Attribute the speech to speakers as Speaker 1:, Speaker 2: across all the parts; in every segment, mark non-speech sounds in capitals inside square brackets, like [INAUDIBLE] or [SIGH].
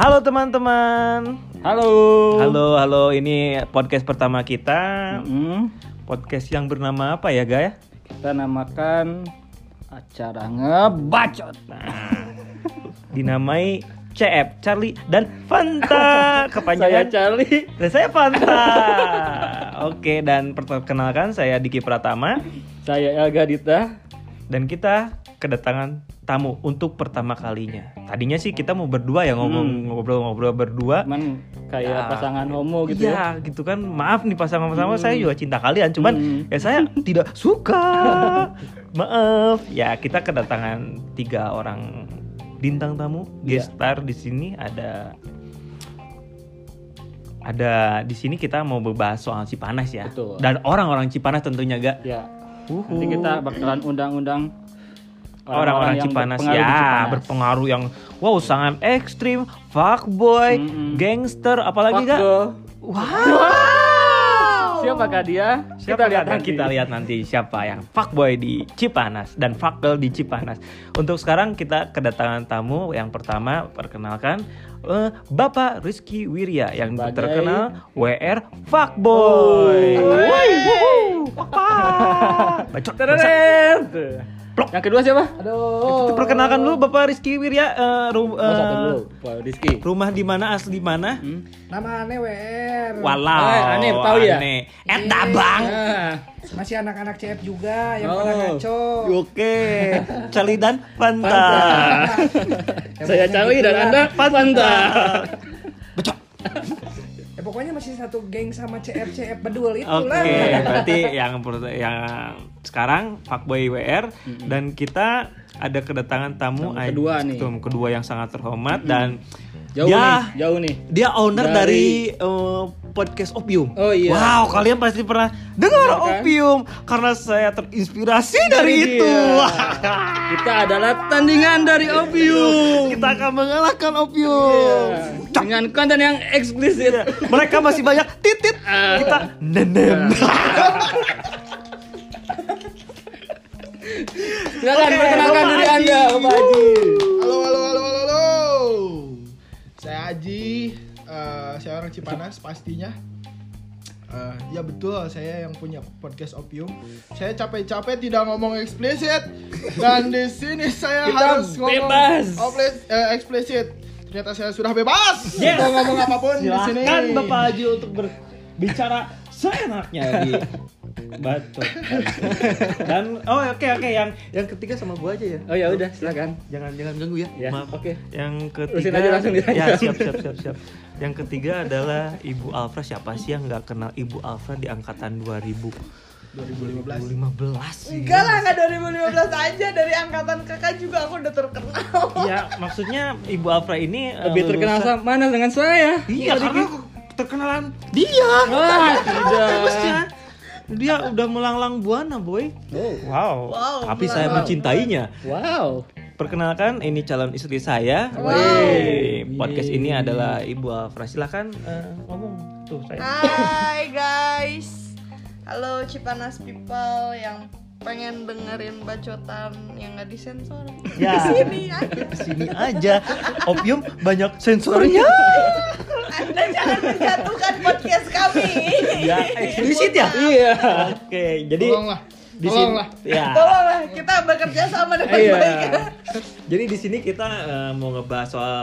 Speaker 1: Halo teman-teman.
Speaker 2: Halo.
Speaker 1: Halo, halo. Ini podcast pertama kita.
Speaker 2: Mm-mm.
Speaker 1: Podcast yang bernama apa ya, Gaya?
Speaker 2: Hmm. Kita namakan acara ngebacot.
Speaker 1: Dinamai CF, Charlie dan [LAUGHS] Fanta.
Speaker 2: Saya
Speaker 1: Kepanjangan
Speaker 2: Charlie.
Speaker 1: dan saya Fanta. Oke, dan perkenalkan saya Diki Pratama
Speaker 2: Saya Elga Dita.
Speaker 1: dan kita kedatangan tamu untuk pertama kalinya. Tadinya sih kita mau berdua ya ngomong ngobrol-ngobrol berdua.
Speaker 2: Cuman
Speaker 1: Ya.
Speaker 2: kayak pasangan homo gitu ya.
Speaker 1: Iya, gitu kan. Maaf nih pasangan sama saya juga cinta kalian, cuman
Speaker 2: Hmm.
Speaker 1: ya saya tidak
Speaker 2: [LAUGHS]
Speaker 1: suka. Maaf. Ya, kita kedatangan tiga orang bintang tamu,
Speaker 2: Iya.
Speaker 1: guest star di sini ada ada di sini kita mau bahas soal Cipanas ya.
Speaker 2: Betul.
Speaker 1: Dan orang-orang Cipanas tentunya gak.
Speaker 2: Ya. Nanti kita bakalan undang-undang
Speaker 1: orang-orang
Speaker 2: yang
Speaker 1: Cipanas
Speaker 2: berpengaruh
Speaker 1: ya
Speaker 2: di Cipanas.
Speaker 1: berpengaruh yang wow sangat ekstrim, fuckboy,
Speaker 2: Mm-mm.
Speaker 1: gangster, apalagi
Speaker 2: Fuck
Speaker 1: gak.
Speaker 2: girl.
Speaker 1: Wow.
Speaker 2: Siapakah dia?
Speaker 1: Siapa
Speaker 2: kita lihat
Speaker 1: nanti?
Speaker 2: nanti.
Speaker 1: Kita lihat nanti siapa yang fuckboy di Cipanas dan fuckgirl di Cipanas. Untuk sekarang kita kedatangan tamu yang pertama perkenalkan eh, Bapak Rizky Wirya yang
Speaker 2: Sebagai-
Speaker 1: terkenal WR fuckboy.
Speaker 2: Oh.
Speaker 1: Woi, wuhuu. Wah. [LAUGHS] Bacot. bacot.
Speaker 2: Teret.
Speaker 1: Plok.
Speaker 2: Yang kedua siapa? Aduh.
Speaker 1: Perkenalkan dulu Bapak Rizky Wirya eh, ru-
Speaker 2: Oh, satu
Speaker 1: eh,
Speaker 2: dulu. Wah, Rizky.
Speaker 1: rumah di mana asli mana?
Speaker 2: Hmm?
Speaker 3: Nama aneh WR.
Speaker 1: Walau.
Speaker 2: Eh, aneh, tahu ya?
Speaker 1: aneh. Eh, tabang.
Speaker 2: Ah.
Speaker 3: Masih anak-anak CF juga yang
Speaker 2: Oh.
Speaker 3: pada ngaco.
Speaker 1: Oke, Cali dan Fanta.
Speaker 3: Ya,
Speaker 2: Saya
Speaker 3: pokoknya
Speaker 2: Charlie
Speaker 3: gitu
Speaker 2: dan
Speaker 3: lah.
Speaker 2: Anda Panta.
Speaker 1: Becok.
Speaker 3: [LAUGHS] Ya, pokoknya masih satu geng sama CF CF bedul
Speaker 1: Oke,
Speaker 3: itulah.
Speaker 1: berarti yang per- yang sekarang Fuckboy WR dan kita ada kedatangan tamu
Speaker 2: Tamu kedua
Speaker 1: Aji-
Speaker 2: nih.
Speaker 1: tamu kedua yang sangat terhormat dan
Speaker 2: Jauh
Speaker 1: dia
Speaker 2: nih, jauh nih.
Speaker 1: dia owner dari,
Speaker 2: Dari-
Speaker 1: eh, podcast Opium.
Speaker 2: Oh, iya.
Speaker 1: Wow, kalian pasti pernah dengar
Speaker 2: Dengar, kan?
Speaker 1: Opium karena saya terinspirasi dari,
Speaker 2: Dari
Speaker 1: itu.
Speaker 2: dia. Kita adalah tandingan dari Opium.
Speaker 1: kita akan mengalahkan Opium. Cak.
Speaker 2: Dengan konten yang eksplisit.
Speaker 1: Iya. Mereka masih banyak titit
Speaker 2: Ah.
Speaker 1: kita nenem.
Speaker 2: Silakan
Speaker 1: Oke,
Speaker 2: perkenalkan
Speaker 1: Bapak
Speaker 2: diri
Speaker 1: Haji.
Speaker 2: Anda, Bapak Haji.
Speaker 4: Halo, halo, halo, halo, halo. Saya Aji, eh, saya orang Cipanas pastinya. Eh, ya betul, saya yang punya podcast Opium. Saya capek-capek tidak ngomong eksplisit dan di sini saya
Speaker 2: Kita
Speaker 4: harus ngomong
Speaker 2: bebas.
Speaker 4: opli- eh, eksplisit. Ternyata saya sudah bebas.
Speaker 1: Yes.
Speaker 4: Mau ngomong apapun di sini.
Speaker 1: Silakan Bapak Haji untuk berbicara seenaknya di Bacot. Dan oh oke oke yang yang ketiga sama gua aja ya.
Speaker 2: Oh ya udah, silakan.
Speaker 1: Jangan jangan ganggu ya.
Speaker 2: Ya,
Speaker 1: Maaf.
Speaker 2: oke.
Speaker 1: Yang
Speaker 2: Urusin
Speaker 1: ketiga
Speaker 2: aja langsung dia.
Speaker 1: Ya, siap siap siap siap. Yang ketiga adalah Ibu Alfra. Siapa sih yang nggak kenal Ibu Alfra di angkatan 2000?
Speaker 4: 2015.
Speaker 1: 2015 ya.
Speaker 5: Enggak lah, enggak 2015 aja dari angkatan kakak juga aku udah terkenal.
Speaker 1: Iya, maksudnya Ibu Alfra ini eh,
Speaker 2: Lebih terkenal
Speaker 1: lulusan-
Speaker 2: sama mana dengan saya?
Speaker 1: Iya, karena terkenalan dia.
Speaker 2: Wah, tidak.
Speaker 1: Bagusnya dia udah melanglang buana, boy.
Speaker 2: Oh.
Speaker 1: Wow.
Speaker 5: Wow,
Speaker 1: Tapi saya mencintainya.
Speaker 2: Wow.
Speaker 1: Perkenalkan, ini calon istri saya.
Speaker 5: Wow.
Speaker 1: Wih, Podcast ini adalah Ibu Afra. Silakan eh, ngomong tuh saya.
Speaker 5: Hai guys. Halo Cipanas people yang pengen dengerin bacotan yang nggak disensor.
Speaker 1: Ya.
Speaker 5: Di sini ya.
Speaker 1: Sini aja. Opium banyak sensornya.
Speaker 5: Anda jangan menjatuhkan podcast kami.
Speaker 1: ya, eksplisit ya.
Speaker 2: Iya.
Speaker 1: Oke, jadi
Speaker 4: Tolonglah.
Speaker 1: di sini
Speaker 4: Tolonglah.
Speaker 1: ya.
Speaker 5: Tolonglah kita bekerja sama dengan
Speaker 2: Iya.
Speaker 5: baik.
Speaker 1: Jadi di sini kita eh, mau ngebahas soal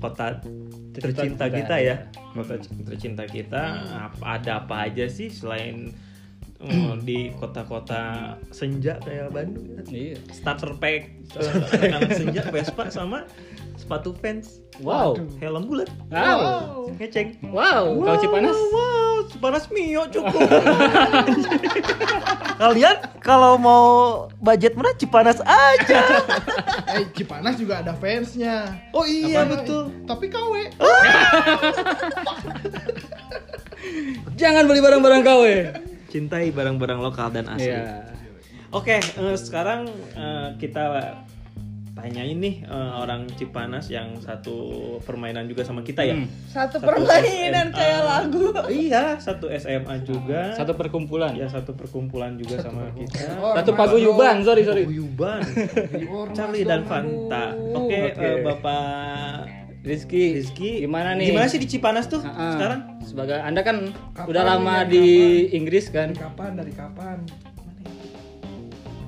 Speaker 1: kota tercinta kita ya, Hmm. kota c- tercinta kita. Apa- Ada apa aja sih selain eh, di kota-kota senja kayak Bandung? ya?
Speaker 2: Iya.
Speaker 1: Starter pack eh, [LAUGHS] anak-anak senja Vespa sama sepatu fans,
Speaker 2: Wow.
Speaker 1: helm bulat,
Speaker 2: Wow.
Speaker 1: ngeceng.
Speaker 2: Wow. Kau Cipanas?
Speaker 1: Wow, wow, Cipanas Mio [LAUGHS] cukup. Kalian kalau mau budget murah Cipanas aja.
Speaker 4: Eh, Cipanas juga ada fansnya.
Speaker 1: Oh iya
Speaker 4: Apa?
Speaker 1: betul.
Speaker 4: Tapi KW.
Speaker 2: Jangan beli barang-barang KW.
Speaker 1: Cintai barang-barang lokal dan asli.
Speaker 2: Iya.
Speaker 1: Oke, eh, sekarang eh, kita tanyain nih eh, orang Cipanas yang satu permainan juga sama kita ya.
Speaker 2: Hmm.
Speaker 5: Satu
Speaker 1: Satu
Speaker 5: permainan
Speaker 1: SMA.
Speaker 5: kayak lagu.
Speaker 1: Iya, satu SMA juga.
Speaker 2: Satu perkumpulan.
Speaker 1: ya satu perkumpulan juga sama kita.
Speaker 2: Iya. Satu paguyuban, sorry, sorry.
Speaker 1: Guyuban.
Speaker 4: Ormas
Speaker 1: Charlie dan
Speaker 4: dong,
Speaker 1: Fanta.
Speaker 4: aduh.
Speaker 1: Oke,
Speaker 2: Oke.
Speaker 1: eh, Bapak
Speaker 2: Rizky,
Speaker 1: Rizky,
Speaker 2: gimana nih?
Speaker 1: Gimana sih di Cipanas tuh
Speaker 2: Ah, ah.
Speaker 1: sekarang?
Speaker 2: Sebagai Anda kan
Speaker 3: Kapan
Speaker 2: udah lama
Speaker 3: ya,
Speaker 2: di
Speaker 3: kapan?
Speaker 2: Inggris kan?
Speaker 3: Dari kapan? Dari kapan?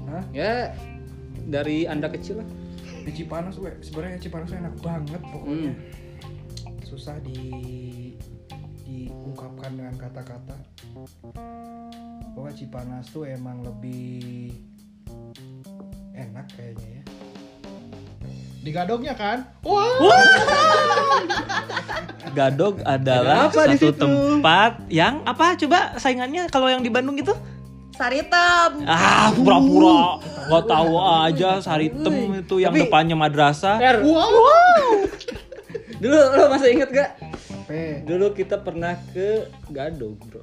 Speaker 3: Mana ya? Hah?
Speaker 2: Ya dari Anda kecil lah.
Speaker 3: Di Cipanas we, sebenarnya Cipanas tuh enak banget
Speaker 2: Hmm.
Speaker 1: Hmm.
Speaker 3: pokoknya. Susah di diungkapkan dengan kata-kata. Pokoknya Cipanas tuh emang lebih enak kayaknya ya.
Speaker 4: Digadoknya kan? Wah.
Speaker 1: Gadog adalah
Speaker 2: Ada apa di
Speaker 1: satu
Speaker 2: situ?
Speaker 1: tempat yang apa coba saingannya kalau yang di Bandung itu?
Speaker 5: Saritem
Speaker 1: Ah, pura-pura nggak tahu aja Saritem itu yang
Speaker 2: Tapi-
Speaker 1: depannya madrasah.
Speaker 2: Ter,
Speaker 4: Wow.
Speaker 2: dulu lo masih inget gak?
Speaker 3: P.
Speaker 2: Dulu kita pernah ke Gadog, bro.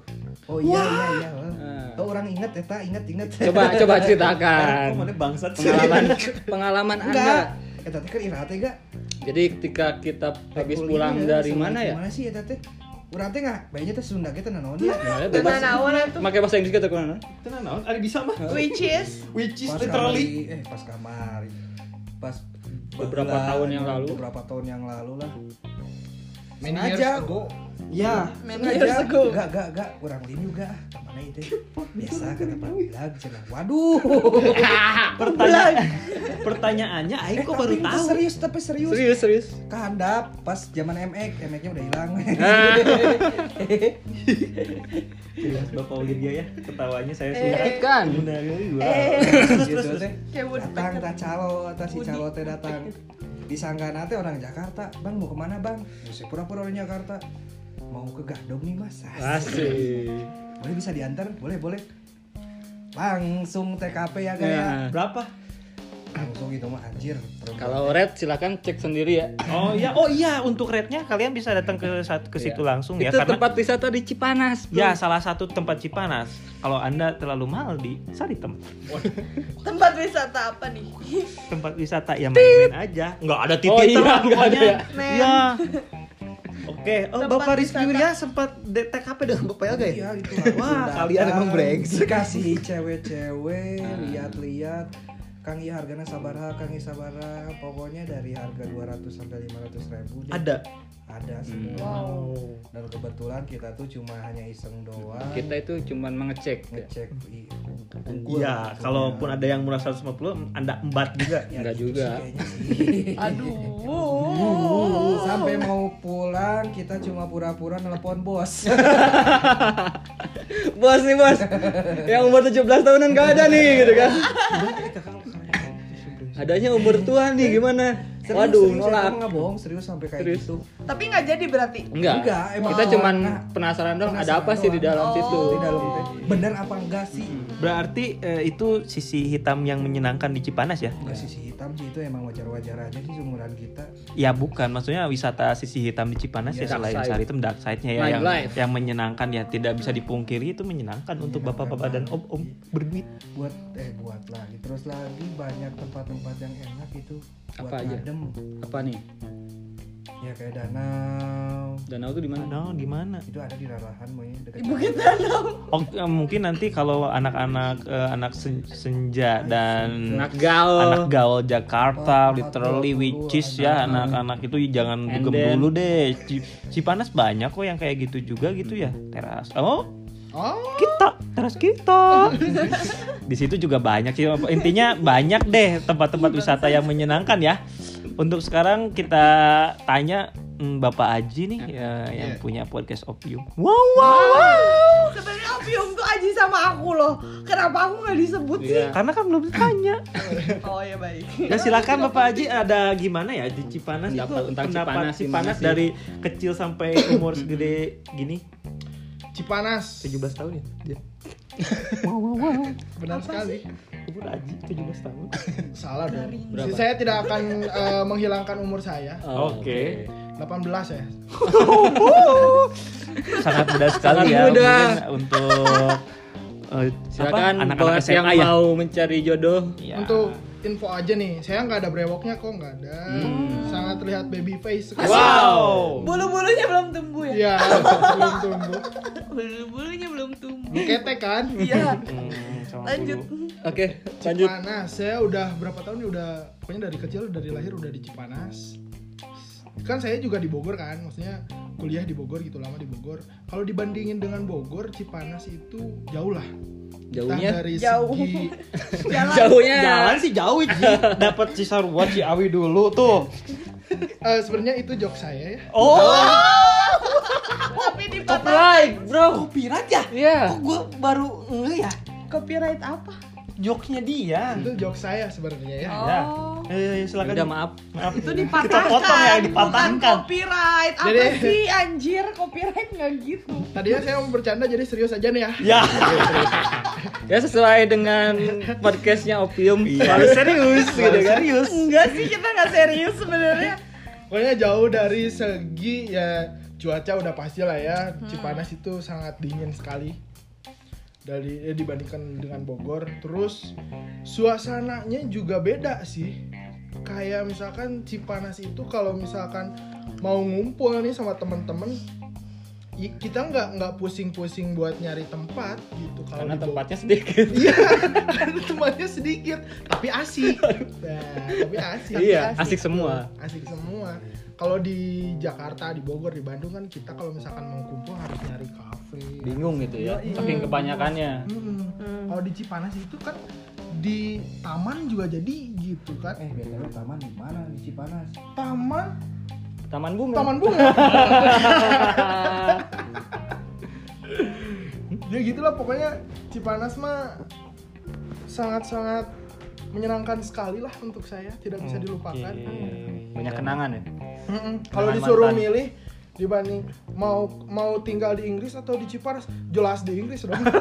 Speaker 3: Oh iya iya iya.
Speaker 2: Ah.
Speaker 3: Oh, orang inget eta, inget inget.
Speaker 1: [LAUGHS]
Speaker 2: Coba
Speaker 3: [LAUGHS]
Speaker 2: coba ceritakan
Speaker 1: Mana bangsat sih? [LAUGHS]
Speaker 2: pengalaman pengalaman
Speaker 3: Enggak.
Speaker 2: Anda.
Speaker 3: Eta teh kan irate gak?
Speaker 2: Jadi ketika kita habis pulang dari mana ya?
Speaker 3: Mana sih eta teh? Urang teh nggak, Bayinya teh Sunda kita naon ya?
Speaker 2: Nah, ya
Speaker 5: Tenan
Speaker 2: bebas.
Speaker 5: naon atuh.
Speaker 2: Pakai bahasa Inggris kita kan?
Speaker 1: Tenang, naon, ada bisa mah.
Speaker 5: Which is
Speaker 1: Which is
Speaker 3: pas
Speaker 1: literally
Speaker 3: kamari, eh pas kamari pas
Speaker 2: Beberapa
Speaker 3: bagelan,
Speaker 2: tahun yang lalu.
Speaker 3: beberapa tahun yang lalu lah
Speaker 4: Many
Speaker 3: Sengaja.
Speaker 4: years ago.
Speaker 3: ya
Speaker 5: Many
Speaker 2: Iya.
Speaker 5: years ago.
Speaker 3: gak gak gak kurang lim juga kemana
Speaker 2: [LAUGHS]
Speaker 3: itu biasa kata Pak Bilang cenah waduh
Speaker 1: pertanyaan. Pertanyaannya Aing kok baru
Speaker 3: tapi itu
Speaker 1: tahu.
Speaker 3: serius tapi serius,
Speaker 2: Eh, Serius serius.
Speaker 3: kehandap pas zaman MX MX-nya udah hilang Gitu,
Speaker 1: Jelas Bapak Wirya ya ketawanya saya
Speaker 5: Eh.
Speaker 1: suka.
Speaker 2: Kan.
Speaker 1: Benar, iya.
Speaker 5: eh
Speaker 3: gitu teh datang
Speaker 5: kayak woodpecker
Speaker 3: tak calo tak si calo teh datang di sanggana teh orang Jakarta bang mau kemana bang Saya pura-pura orang Jakarta mau ke Gadong nih mas
Speaker 2: Asik.
Speaker 3: boleh bisa diantar boleh boleh langsung TKP ya
Speaker 1: Iya.
Speaker 2: Ya.
Speaker 3: kayak
Speaker 1: Berapa?
Speaker 3: langsung gitu mah anjir perempuan.
Speaker 2: Kalau red silahkan cek sendiri ya.
Speaker 1: Oh iya, oh iya untuk rate-nya kalian bisa datang ke sat- ke situ langsung ya
Speaker 2: Iya. itu
Speaker 1: karena
Speaker 2: tempat wisata di Cipanas. bro.
Speaker 1: ya salah satu tempat Cipanas. Kalau Anda terlalu mahal di Saritem.
Speaker 5: tempat wisata apa nih
Speaker 1: tempat wisata ya main-main aja nggak ada titik
Speaker 2: Oh iya,
Speaker 1: terang
Speaker 2: nggak ada
Speaker 1: pokoknya.
Speaker 2: ya.
Speaker 5: Men.
Speaker 1: Iya. oke oh,
Speaker 5: Tempat
Speaker 1: bapak Rizky
Speaker 5: wisata.
Speaker 1: Wirya sempat de- TKP dengan bapak Elga ya [LAUGHS]
Speaker 3: iya itu
Speaker 1: Wah, kalian emang brengsek.
Speaker 3: kasih cewek-cewek lihat-lihat Kang Iya harganya sabaraha, Kang Iya sabaraha Pokoknya dari harga 200 sampai 500 ribu deh.
Speaker 1: ada
Speaker 3: Ada semua
Speaker 5: wow
Speaker 3: Dan kebetulan kita tuh cuma hanya iseng doang
Speaker 2: Kita itu cuman mengecek. ya.
Speaker 3: ngecek i- Google
Speaker 1: iya
Speaker 3: maksudnya.
Speaker 1: kalaupun ada yang murah 150 anda embat juga
Speaker 3: Ya,
Speaker 2: Enggak
Speaker 3: gitu
Speaker 2: juga.
Speaker 3: sih kayaknya sih.
Speaker 5: [LAUGHS] aduh
Speaker 3: Sampai mau pulang kita cuma pura-pura nelpon bos.
Speaker 2: Bos nih bos. Yang umur 17 tahunan gak ada nih gitu kan. Adanya umur tua nih gimana?
Speaker 3: Serius,
Speaker 2: Waduh,
Speaker 3: serius,
Speaker 2: nolak.
Speaker 3: aku nggak bohong serius sampai kayak
Speaker 2: Serius.
Speaker 3: gitu.
Speaker 5: tapi nggak jadi berarti
Speaker 2: Enggak.
Speaker 3: Enggak, emang
Speaker 2: Kita
Speaker 3: awal-
Speaker 2: cuman
Speaker 3: nah,
Speaker 2: penasaran dong ada
Speaker 3: penasaran
Speaker 2: apa sih di
Speaker 3: doang. Oh,
Speaker 2: dalam situ.
Speaker 3: Di dalam teh
Speaker 2: Iya,
Speaker 3: benar apa enggak sih?
Speaker 1: berarti eh, itu sisi hitam yang menyenangkan di Cipanas ya
Speaker 3: Enggak sisi hitam sih itu emang wajar-wajar aja sih seumuran kita.
Speaker 1: ya bukan maksudnya wisata sisi hitam di Cipanas ya,
Speaker 2: Ya, dark
Speaker 1: selain
Speaker 2: side.
Speaker 1: Saritem dark side-nya ya
Speaker 2: Night
Speaker 1: yang,
Speaker 2: life.
Speaker 1: yang menyenangkan ya tidak bisa dipungkiri itu menyenangkan
Speaker 2: Iya,
Speaker 1: untuk bapak-bapak dan om-om berduit
Speaker 3: Buat eh buat lagi terus lagi banyak tempat-tempat yang enak itu buat
Speaker 2: Apa aja?
Speaker 3: ngadem.
Speaker 2: Apa nih?
Speaker 3: Ya kayak danau.
Speaker 2: Danau tuh di mana?
Speaker 1: no di mana
Speaker 3: Itu ada di Rarahan maunya dekat.
Speaker 5: bukit danau
Speaker 1: Oh, eh, mungkin nanti kalau anak-anak eh, anak sen- senja dan
Speaker 2: Anak gaul.
Speaker 1: anak gaul Jakarta
Speaker 3: Empat-
Speaker 1: literally
Speaker 3: empat puluh
Speaker 1: witches ya anak-anak itu jangan
Speaker 2: And
Speaker 1: dugem
Speaker 2: then-
Speaker 1: dulu deh. Ci- Cipanas banyak kok yang kayak gitu juga gitu ya. Teras. Oh,
Speaker 4: Oh.
Speaker 1: kita teras kita. [LAUGHS] Di situ juga banyak sih. Intinya banyak deh tempat-tempat wisata yang menyenangkan ya. Untuk sekarang kita tanya mm, Bapak Aji nih ya, yang
Speaker 4: Iya.
Speaker 1: punya podcast Opium. Wow, wow, wow.
Speaker 5: sebenarnya opium tuh aji sama aku loh kenapa aku nggak disebut sih
Speaker 2: Iya.
Speaker 1: Karena kan belum
Speaker 2: [LAUGHS]
Speaker 1: ditanya.
Speaker 5: oh ya baik
Speaker 1: Ya silakan Bapak Haji ada gimana ya di Cipanas itu
Speaker 2: Pendapat tentang
Speaker 1: pendapat
Speaker 2: Cipanas,
Speaker 1: Cipanas,
Speaker 2: gimana sih?
Speaker 1: dari kecil sampai
Speaker 2: [CLEARS THROAT]
Speaker 1: umur segede gini
Speaker 4: Cipanas.
Speaker 1: 17 tahun ya. Dia.
Speaker 4: Benar sekali.
Speaker 1: Umur Haji 17 tahun.
Speaker 4: Salah dong.
Speaker 2: Berapa?
Speaker 4: Saya tidak akan eh, menghilangkan umur saya.
Speaker 2: Oh,
Speaker 1: Oke.
Speaker 4: 18 ya.
Speaker 1: Sangat muda sekali
Speaker 2: Sangat
Speaker 1: ya
Speaker 2: muda.
Speaker 1: mungkin untuk eh,
Speaker 2: Silakan
Speaker 1: apa, anak-anak
Speaker 2: bos yang
Speaker 1: SMA ya.
Speaker 2: mau mencari jodoh.
Speaker 1: Ya.
Speaker 4: Untuk info aja nih, saya nggak ada brewoknya kok nggak ada. Sangat terlihat baby face sekali.
Speaker 2: Wow.
Speaker 5: bulu-bulunya belum tumbuh ya
Speaker 4: Iya, belum tumbuh.
Speaker 5: bulu-bulunya belum tumbuh
Speaker 4: Bukete kan?
Speaker 5: iya
Speaker 1: Hmm, sama
Speaker 5: lanjut
Speaker 1: dulu.
Speaker 2: Oke, lanjut.
Speaker 4: Nah, Cipanas, saya udah berapa tahun ya udah pokoknya dari kecil dari lahir udah di Cipanas. kan saya juga di Bogor kan maksudnya kuliah di Bogor gitu lama di Bogor kalau dibandingin dengan Bogor Cipanas itu jauh lah Entah
Speaker 2: Jauhnya
Speaker 4: dari
Speaker 5: Jauh.
Speaker 4: segi
Speaker 5: Jalan.
Speaker 2: jauhnya
Speaker 1: Jalan sih jauh sih. [LAUGHS] Dapat Cisarua Ciawi dulu tuh.
Speaker 4: eh, sebenarnya itu jok saya ya
Speaker 1: Oh,
Speaker 5: Tapi di
Speaker 2: copyright bro
Speaker 1: copyright ya?
Speaker 2: iya
Speaker 1: Kok gue baru enggak ya?
Speaker 5: copyright apa?
Speaker 1: Joknya dia.
Speaker 4: itu jok saya sebenarnya ya
Speaker 1: Ya.
Speaker 5: Oh.
Speaker 1: Eh, silakan.
Speaker 2: udah maaf
Speaker 1: Maaf.
Speaker 5: Itu dipatahkan.
Speaker 1: Iya. Kita potong ya,
Speaker 5: bukan
Speaker 1: dipatahkan.
Speaker 5: copyright. Apa
Speaker 4: Jadi-
Speaker 5: sih anjir copyright nggak gitu.
Speaker 4: tadinya saya mau bercanda jadi serius aja nih ya
Speaker 1: Ya.
Speaker 2: ya sesuai dengan podcastnya opium
Speaker 3: Iya.
Speaker 1: Malu serius gitu kan. Serius.
Speaker 5: Enggak sih kita nggak serius [LAUGHS] sebenarnya.
Speaker 4: Pokoknya jauh dari segi ya cuaca udah pasti lah ya. Cipanas itu sangat dingin sekali dari ya, dibandingkan dengan Bogor. Terus suasananya juga beda sih. Kayak misalkan Cipanas itu kalau misalkan mau ngumpul nih sama temen-temen i- kita nggak nggak pusing-pusing buat nyari tempat gitu kalau
Speaker 2: karena
Speaker 4: di Bogor-
Speaker 2: tempatnya sedikit
Speaker 4: iya karena [LAUGHS] tempatnya sedikit tapi asik
Speaker 2: [LAUGHS]
Speaker 4: Nah, tapi asik
Speaker 2: iya
Speaker 5: asik.
Speaker 2: asik semua
Speaker 4: asik semua kalau di Jakarta di Bogor di Bandung kan kita kalau misalkan mau kumpul harus nyari kafe
Speaker 2: bingung gitu ya
Speaker 4: Iya, iya.
Speaker 2: saking kebanyakannya
Speaker 4: Mm-mm.
Speaker 5: Hmm.
Speaker 4: kalau di Cipanas itu kan di taman juga jadi gitu kan
Speaker 3: Eh, BTW taman di mana di Cipanas?
Speaker 4: taman
Speaker 2: taman bunga
Speaker 4: taman bunga [LAUGHS]
Speaker 2: Ah,
Speaker 4: ya gitulah pokoknya Cipanas mah sangat-sangat menyenangkan sekali lah untuk saya tidak bisa dilupakan
Speaker 2: banyak kenangan ya
Speaker 4: Mm-mm. Kalau
Speaker 2: Dengan
Speaker 4: disuruh
Speaker 2: mantan.
Speaker 4: milih dibanding mau mau tinggal di Inggris atau di Cipanas, jelas di Inggris dong.
Speaker 1: [LAUGHS]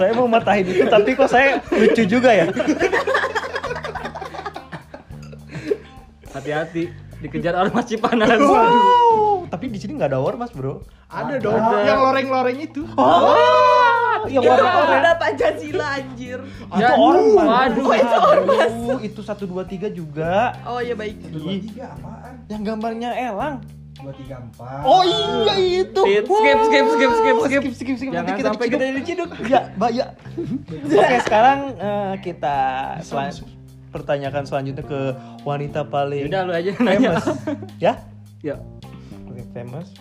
Speaker 1: Saya mau matahin itu tapi kok saya lucu juga ya.
Speaker 2: hati-hati dikejar ormas Cipanas
Speaker 1: Wow. Tapi di sini nggak ada ormas bro.
Speaker 4: ada dong
Speaker 2: Ada.
Speaker 4: yang loreng-loreng itu.
Speaker 1: Oh, yang
Speaker 5: Itu
Speaker 1: warna oranye.
Speaker 5: udah Pancasila anjir.
Speaker 1: Itu ormas. Oh,
Speaker 2: waduh
Speaker 1: itu ormas. Itu satu dua tiga juga.
Speaker 5: Oh ya baik.
Speaker 3: Satu dua tiga apaan?
Speaker 1: Yang gambarnya elang.
Speaker 3: Dua tiga empat.
Speaker 1: Oh iya itu.
Speaker 2: Skip,
Speaker 1: Wow.
Speaker 2: skip, skip, skip, skip, skip.
Speaker 1: skip, skip, skip.
Speaker 2: Jangan
Speaker 1: Nanti
Speaker 2: sampai
Speaker 1: diciduk.
Speaker 2: kita diciduk.
Speaker 1: Ya, Mbak, ya. Oke, sekarang eh, kita selan- pertanyakan selanjutnya ke wanita paling
Speaker 2: udah lu aja nanya
Speaker 1: famous. [LAUGHS] ya?
Speaker 2: ya
Speaker 1: Oke, famous.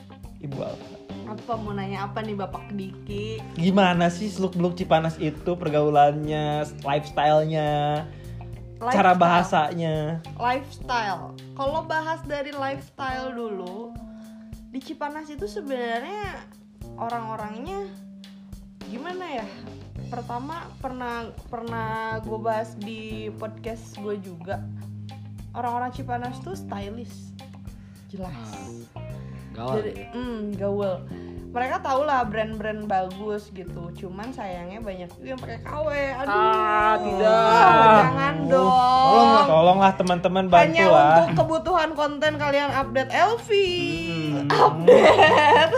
Speaker 1: Ibu Alfa.
Speaker 5: Apa mau nanya apa nih Bapak Diki?
Speaker 1: Gimana sih seluk-beluk Cipanas itu pergaulannya, lifestyle-nya,
Speaker 5: Lifestyle.
Speaker 1: cara bahasanya?
Speaker 5: lifestyle. Kalau bahas dari lifestyle dulu, di Cipanas itu sebenarnya orang-orangnya gimana ya? Pertama pernah pernah gue bahas di podcast gue juga orang-orang Cipanas tuh stylish, jelas. Jadi, mm, gaul. Mereka tau lah brand-brand bagus gitu. Cuman sayangnya banyak juga yang pakai KW. Aduh.
Speaker 2: Ah, tidak. Oh.
Speaker 5: Jangan dong.
Speaker 1: Tolonglah, tolonglah teman-teman
Speaker 5: Oh. Hanya
Speaker 1: bantulah.
Speaker 5: untuk kebutuhan konten kalian update LV.
Speaker 1: Hmm. [LAUGHS]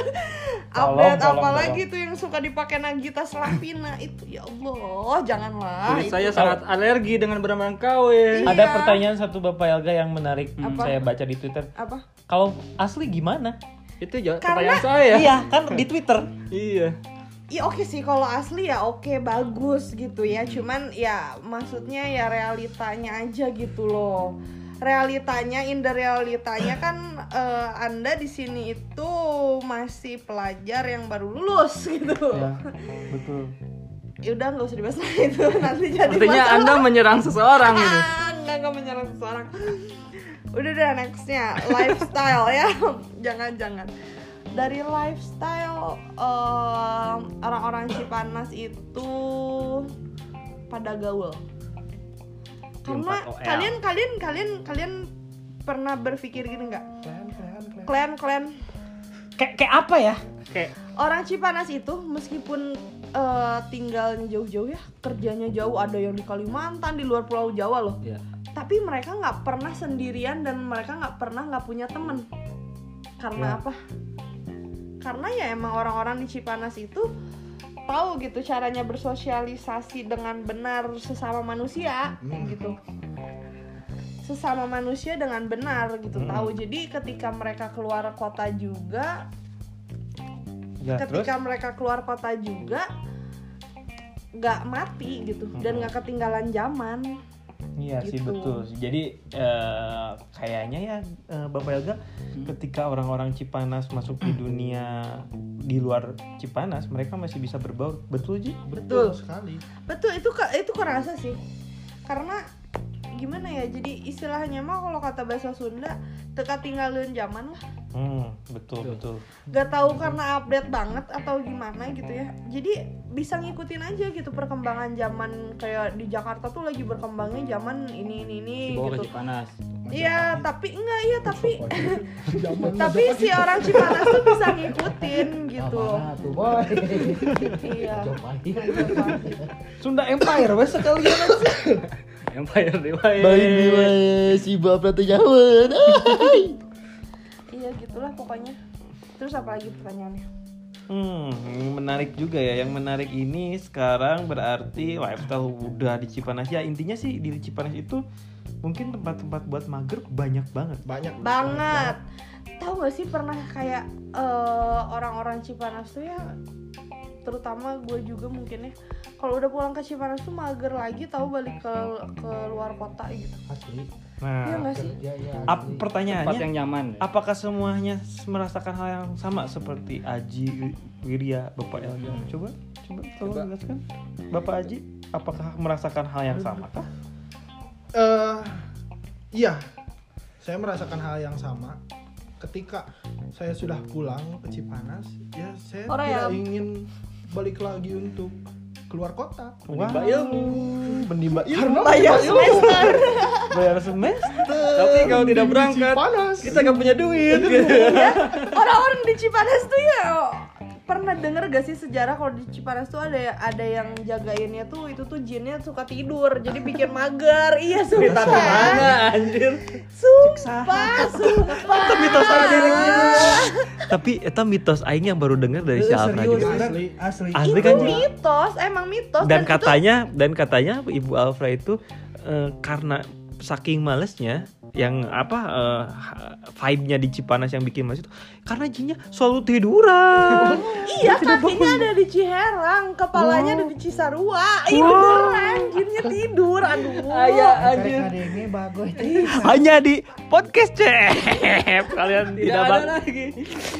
Speaker 1: Tolong,
Speaker 5: update
Speaker 1: tolong,
Speaker 5: apalagi tuh yang suka dipakai Nagita Slavina itu ya Allah, janganlah.
Speaker 2: Kulit
Speaker 5: Ah, itu.
Speaker 2: saya sangat alergi dengan barang-barang KW.
Speaker 1: Ada
Speaker 5: Iya.
Speaker 1: pertanyaan satu Bapak Elga yang menarik
Speaker 5: Apa?
Speaker 1: saya baca di Twitter.
Speaker 5: apa?
Speaker 1: Kalau asli gimana?
Speaker 2: Itu jawab
Speaker 5: Karena-
Speaker 2: pertanyaan saya. ya?
Speaker 1: Iya, kan di Twitter.
Speaker 2: Iya.
Speaker 5: Ya oke sih kalau asli ya oke bagus gitu ya. Cuman ya maksudnya ya realitanya aja gitu loh. Realitanya in the realitanya kan eh, Anda di sini itu masih pelajar yang baru lulus gitu.
Speaker 1: betul.
Speaker 5: Ya udah nggak usah dibahas lagi itu nanti jadi
Speaker 2: Artinya
Speaker 5: masalah.
Speaker 2: Anda menyerang seseorang gitu. ini.
Speaker 5: Ah, nggak nggak menyerang seseorang. Udah udah nextnya lifestyle ya, [LAUGHS] jangan jangan. Dari lifestyle em, orang-orang Cipanas itu pada gaul. Karena
Speaker 2: 4OL.
Speaker 5: kalian kalian kalian kalian pernah berpikir gini nggak?
Speaker 4: Keren, keren, keren.
Speaker 5: Klan klan
Speaker 1: Kayak kayak apa ya?
Speaker 2: Kayak
Speaker 5: orang Cipanas itu meskipun eh, tinggalnya jauh-jauh ya kerjanya jauh ada yang di Kalimantan di luar Pulau Jawa loh
Speaker 2: Iya.
Speaker 5: tapi mereka nggak pernah sendirian dan mereka nggak pernah nggak punya temen karena apa karena ya emang orang-orang di Cipanas itu tahu gitu caranya bersosialisasi dengan benar sesama manusia kayak gitu sesama manusia dengan benar gitu tahu jadi ketika mereka keluar kota juga
Speaker 1: Ya, terus
Speaker 5: ketika mereka keluar kota juga nggak mati gitu dan nggak ketinggalan zaman
Speaker 1: Iya sih
Speaker 5: Gitu.
Speaker 1: betul. sih. Jadi eh, kayaknya ya eh, Bapak Elga
Speaker 5: Hmm.
Speaker 1: ketika orang-orang Cipanas masuk di dunia di luar Cipanas mereka masih bisa berbaur. Betul Ji?
Speaker 5: Betul.
Speaker 4: sekali.
Speaker 5: Betul itu ke- itu kerasa sih. Karena gimana ya? Jadi istilahnya mah kalau kata bahasa Sunda teka tinggalin zaman lah.
Speaker 1: Hmm, betul betul.
Speaker 5: Gak tahu karena update banget atau gimana gitu ya. Jadi bisa ngikutin aja gitu perkembangan zaman kayak di Jakarta tuh lagi berkembangnya zaman ini ini ini
Speaker 2: Dibawa ke
Speaker 5: gitu.
Speaker 2: Cipanas.
Speaker 5: Iya, tapi enggak iya tapi [LAUGHS]
Speaker 4: Zaman
Speaker 5: tapi si orang Cipanas tuh bisa ngikutin gitu.
Speaker 6: Apaan gitu? tuh boy
Speaker 5: [LAUGHS] Iya.
Speaker 6: Cobain.
Speaker 1: Sunda Empire wes sekalian.
Speaker 2: Empire riwayat.
Speaker 6: si Bob Ratu Jawa.
Speaker 5: Iya gitulah pokoknya. Terus apa lagi pertanyaannya?
Speaker 1: Hmm, yang menarik juga ya. Yang menarik ini sekarang berarti lifestyle udah di Cipanas ya. Intinya sih di Cipanas itu mungkin tempat-tempat buat mager banyak banget.
Speaker 4: banyak
Speaker 5: banget tahu gak sih pernah kayak eh, orang-orang Cipanas tuh ya terutama gue juga mungkin ya kalau udah pulang ke Cipanas tuh mager lagi tahu balik ke ke luar kota gitu
Speaker 6: Asli.
Speaker 5: iya
Speaker 1: Nah,
Speaker 5: gak sih
Speaker 6: Kerja ya. asli.
Speaker 1: ap-
Speaker 2: Tempat
Speaker 1: pertanyaannya
Speaker 2: yang nyaman.
Speaker 1: Apakah semuanya merasakan hal yang sama seperti Aji, Wirya, Bapak Elga? Coba, coba tolong jelaskan. Bapak Aji, apakah merasakan hal yang sama kah?
Speaker 4: Eh, iya saya merasakan hal yang sama ketika saya sudah pulang ke Cipanas ya saya
Speaker 5: Orang
Speaker 4: tidak
Speaker 5: yang-
Speaker 4: ingin balik lagi untuk keluar kota
Speaker 1: Menimba ilmu. Menimba ilmu.
Speaker 4: karena
Speaker 5: bayar
Speaker 4: memang ilmu
Speaker 5: semester
Speaker 1: Bayar semester.
Speaker 2: Tapi kalau tidak
Speaker 4: di
Speaker 2: berangkat,
Speaker 4: Cipanas
Speaker 2: kita gak punya duit.
Speaker 5: [LAUGHS] orang-orang di Cipanas tuh ya pernah denger gak sih sejarah kalau di Cipanas tuh ada ada yang jagainnya tuh itu tuh jinnya suka tidur jadi bikin mager iya
Speaker 2: Cerita
Speaker 5: sumpah
Speaker 2: anjir.
Speaker 5: sumpah sumpah
Speaker 1: Ah. Tapi itu mitos aing yang baru dengar dari
Speaker 3: Eh,
Speaker 1: si Alfra
Speaker 3: serius
Speaker 1: juga.
Speaker 3: asli
Speaker 4: Asli.
Speaker 3: asli
Speaker 1: Asli
Speaker 5: itu
Speaker 1: kan
Speaker 3: Gitu.
Speaker 1: Ji?
Speaker 5: mitos emang mitos
Speaker 1: Dan
Speaker 5: itu
Speaker 1: katanya dan katanya Ibu Alfra itu eh, karena saking malesnya yang apa eh, ha- vibe-nya di Cipanas yang bikin males itu karena jinnya selalu
Speaker 3: [LAUGHS]
Speaker 1: tiduran.
Speaker 5: iya kakinya ada di Ciherang kepalanya ada di Cisarua itu beneran jinnya tidur aduh Ah,
Speaker 3: Karek adeknya bagus
Speaker 1: hanya di podcast cep kalian tidak
Speaker 2: Tidak ada
Speaker 1: bak-
Speaker 2: lagi.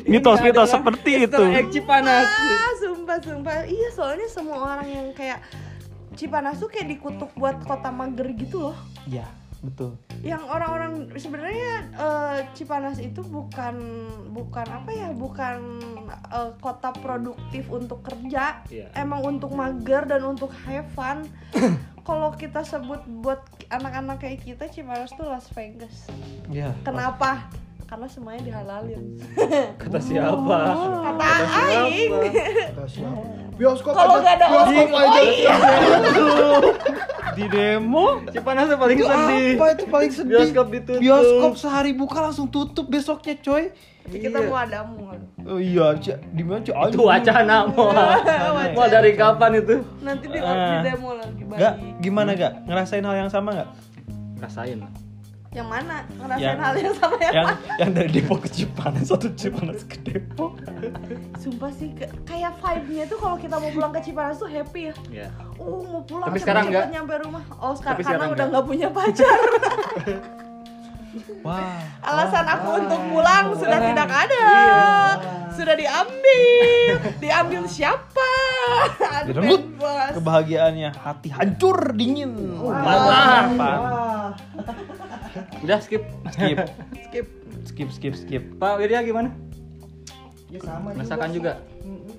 Speaker 1: mitos-mitos seperti
Speaker 3: ya.
Speaker 1: itu
Speaker 2: Mister X Cipanas.
Speaker 5: ah sumpah sumpah iya soalnya semua orang yang kayak Cipanas tuh kayak dikutuk buat kota mager gitu loh
Speaker 1: ya betul
Speaker 5: yang orang-orang sebenarnya eh, Cipanas itu bukan bukan apa ya bukan eh, kota produktif untuk kerja
Speaker 2: Iya.
Speaker 5: emang untuk mager dan untuk have fun kalau kita sebut buat anak-anak kayak kita Cipanas tuh Las Vegas
Speaker 1: ya
Speaker 5: kenapa karena semuanya dihalalin
Speaker 2: Kata siapa?
Speaker 5: kata Aing
Speaker 4: Kata siapa? bioskop
Speaker 5: Kalau
Speaker 4: aja-
Speaker 5: nggak ada
Speaker 4: bioskop
Speaker 5: orang-
Speaker 4: aja
Speaker 5: Oh,
Speaker 1: di demo
Speaker 2: Cipanas yang paling sedih.
Speaker 3: apa itu paling sedih
Speaker 2: Bioskop ditutup.
Speaker 3: bioskop sehari buka langsung tutup besoknya coy
Speaker 5: kita mau ada mall
Speaker 1: oh iya Cek. di mana Cek?
Speaker 2: Itu wacana mau. Mau dari kapan itu?
Speaker 5: nanti di,
Speaker 1: Ah.
Speaker 5: di demo lagi balik
Speaker 1: Gak, gimana gak? Ngerasain hal yang sama
Speaker 5: [LAUGHS]
Speaker 1: gak?
Speaker 2: Rasain. lah.
Speaker 5: yang mana ngerasain
Speaker 1: Yang-
Speaker 5: hal yang sama yang
Speaker 1: Yang yang dari Depok ke Cipanas, [LAUGHS] satu Cipanas ke Depok
Speaker 5: Sumpah sih, ke- kayak vibe-nya tuh kalau kita mau pulang ke Cipanas tuh happy ya.
Speaker 2: Iya.
Speaker 5: Uh, mau pulang
Speaker 2: Tapi
Speaker 5: cepet-cepet
Speaker 2: sekarang enggak.
Speaker 5: nyampe rumah. Oh, sekarang
Speaker 2: Tapi
Speaker 5: karena
Speaker 2: sekarang
Speaker 5: udah
Speaker 2: enggak.
Speaker 5: nggak punya
Speaker 2: [LAUGHS]
Speaker 5: pacar.
Speaker 1: Wah,
Speaker 5: Alasan aku
Speaker 2: Ah.
Speaker 5: untuk pulang sudah tidak ada.
Speaker 2: Iya.
Speaker 5: Sudah
Speaker 2: [LAUGHS]
Speaker 5: diambil. Diambil siapa? Aduh,
Speaker 1: Direnggut.
Speaker 5: bebas.
Speaker 1: kebahagiaannya hati hancur dingin
Speaker 2: Parah.
Speaker 1: Parah.
Speaker 2: Udah skip.
Speaker 1: Skip,
Speaker 5: Skip.
Speaker 1: skip, skip, skip
Speaker 2: Pak Wirya gimana?
Speaker 3: ya sama
Speaker 2: Merasakan juga.
Speaker 3: Mm-mm.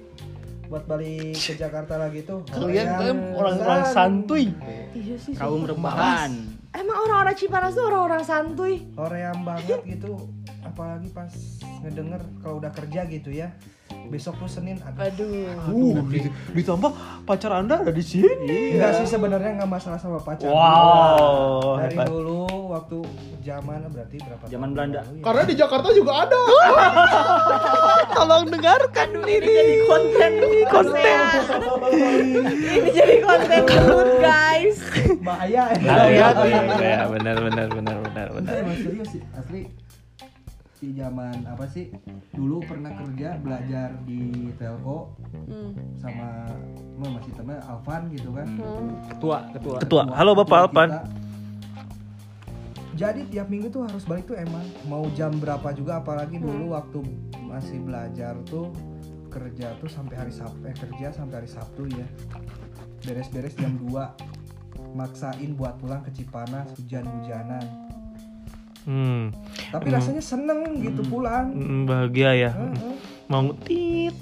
Speaker 3: buat balik ke Jakarta lagi tuh
Speaker 6: Kalian kan
Speaker 1: Orang-orang santuy
Speaker 5: Iya sih. sumpah.
Speaker 2: Kaum rebahan.
Speaker 5: Emang orang-orang Cipanas tuh orang-orang santuy.
Speaker 3: Korean banget gitu apalagi pas ngedenger kalau udah kerja gitu ya besok tuh Senin ada
Speaker 5: Aduh. Iya.
Speaker 1: Uh, di- ditambah pacar anda ada di sini.
Speaker 3: enggak sih sebenarnya nggak masalah sama pacar
Speaker 1: Iya. Wow, Oh,
Speaker 3: dari
Speaker 1: hebat.
Speaker 3: dulu waktu zaman berarti berapa
Speaker 2: Zaman
Speaker 3: tahun
Speaker 2: Belanda.
Speaker 3: lalu ya?
Speaker 4: karena di Jakarta juga ada
Speaker 1: Tolong dengarkan
Speaker 5: Ini jadi konten konten.
Speaker 2: [LAUGHS]
Speaker 5: Ini jadi konten good guys.
Speaker 3: bahaya
Speaker 1: Nah, Hati-hati. Ya, benar benar benar benar benar.
Speaker 6: Enggak, emang Iya. serius sih, asli di zaman apa sih dulu pernah kerja belajar di telco
Speaker 5: Hmm.
Speaker 6: sama emang masih temen Alvan gitu kan
Speaker 5: Hmm.
Speaker 2: Ketua, ketua.
Speaker 1: Ketua. Halo, Bapak Alvan.
Speaker 6: kita,
Speaker 3: jadi tiap minggu tuh harus balik tuh emang mau jam berapa juga apalagi dulu waktu masih belajar tuh kerja tuh sampai hari Sabtu eh, kerja sampai hari Sabtu ya beres-beres jam 2 maksain buat pulang ke Cipanas hujan-hujanan
Speaker 1: Hmm,
Speaker 3: tapi
Speaker 1: Hmm.
Speaker 3: rasanya seneng gitu pulang
Speaker 1: mm, bahagia ya.
Speaker 5: Hmm.
Speaker 3: Heeh.
Speaker 1: Mau tit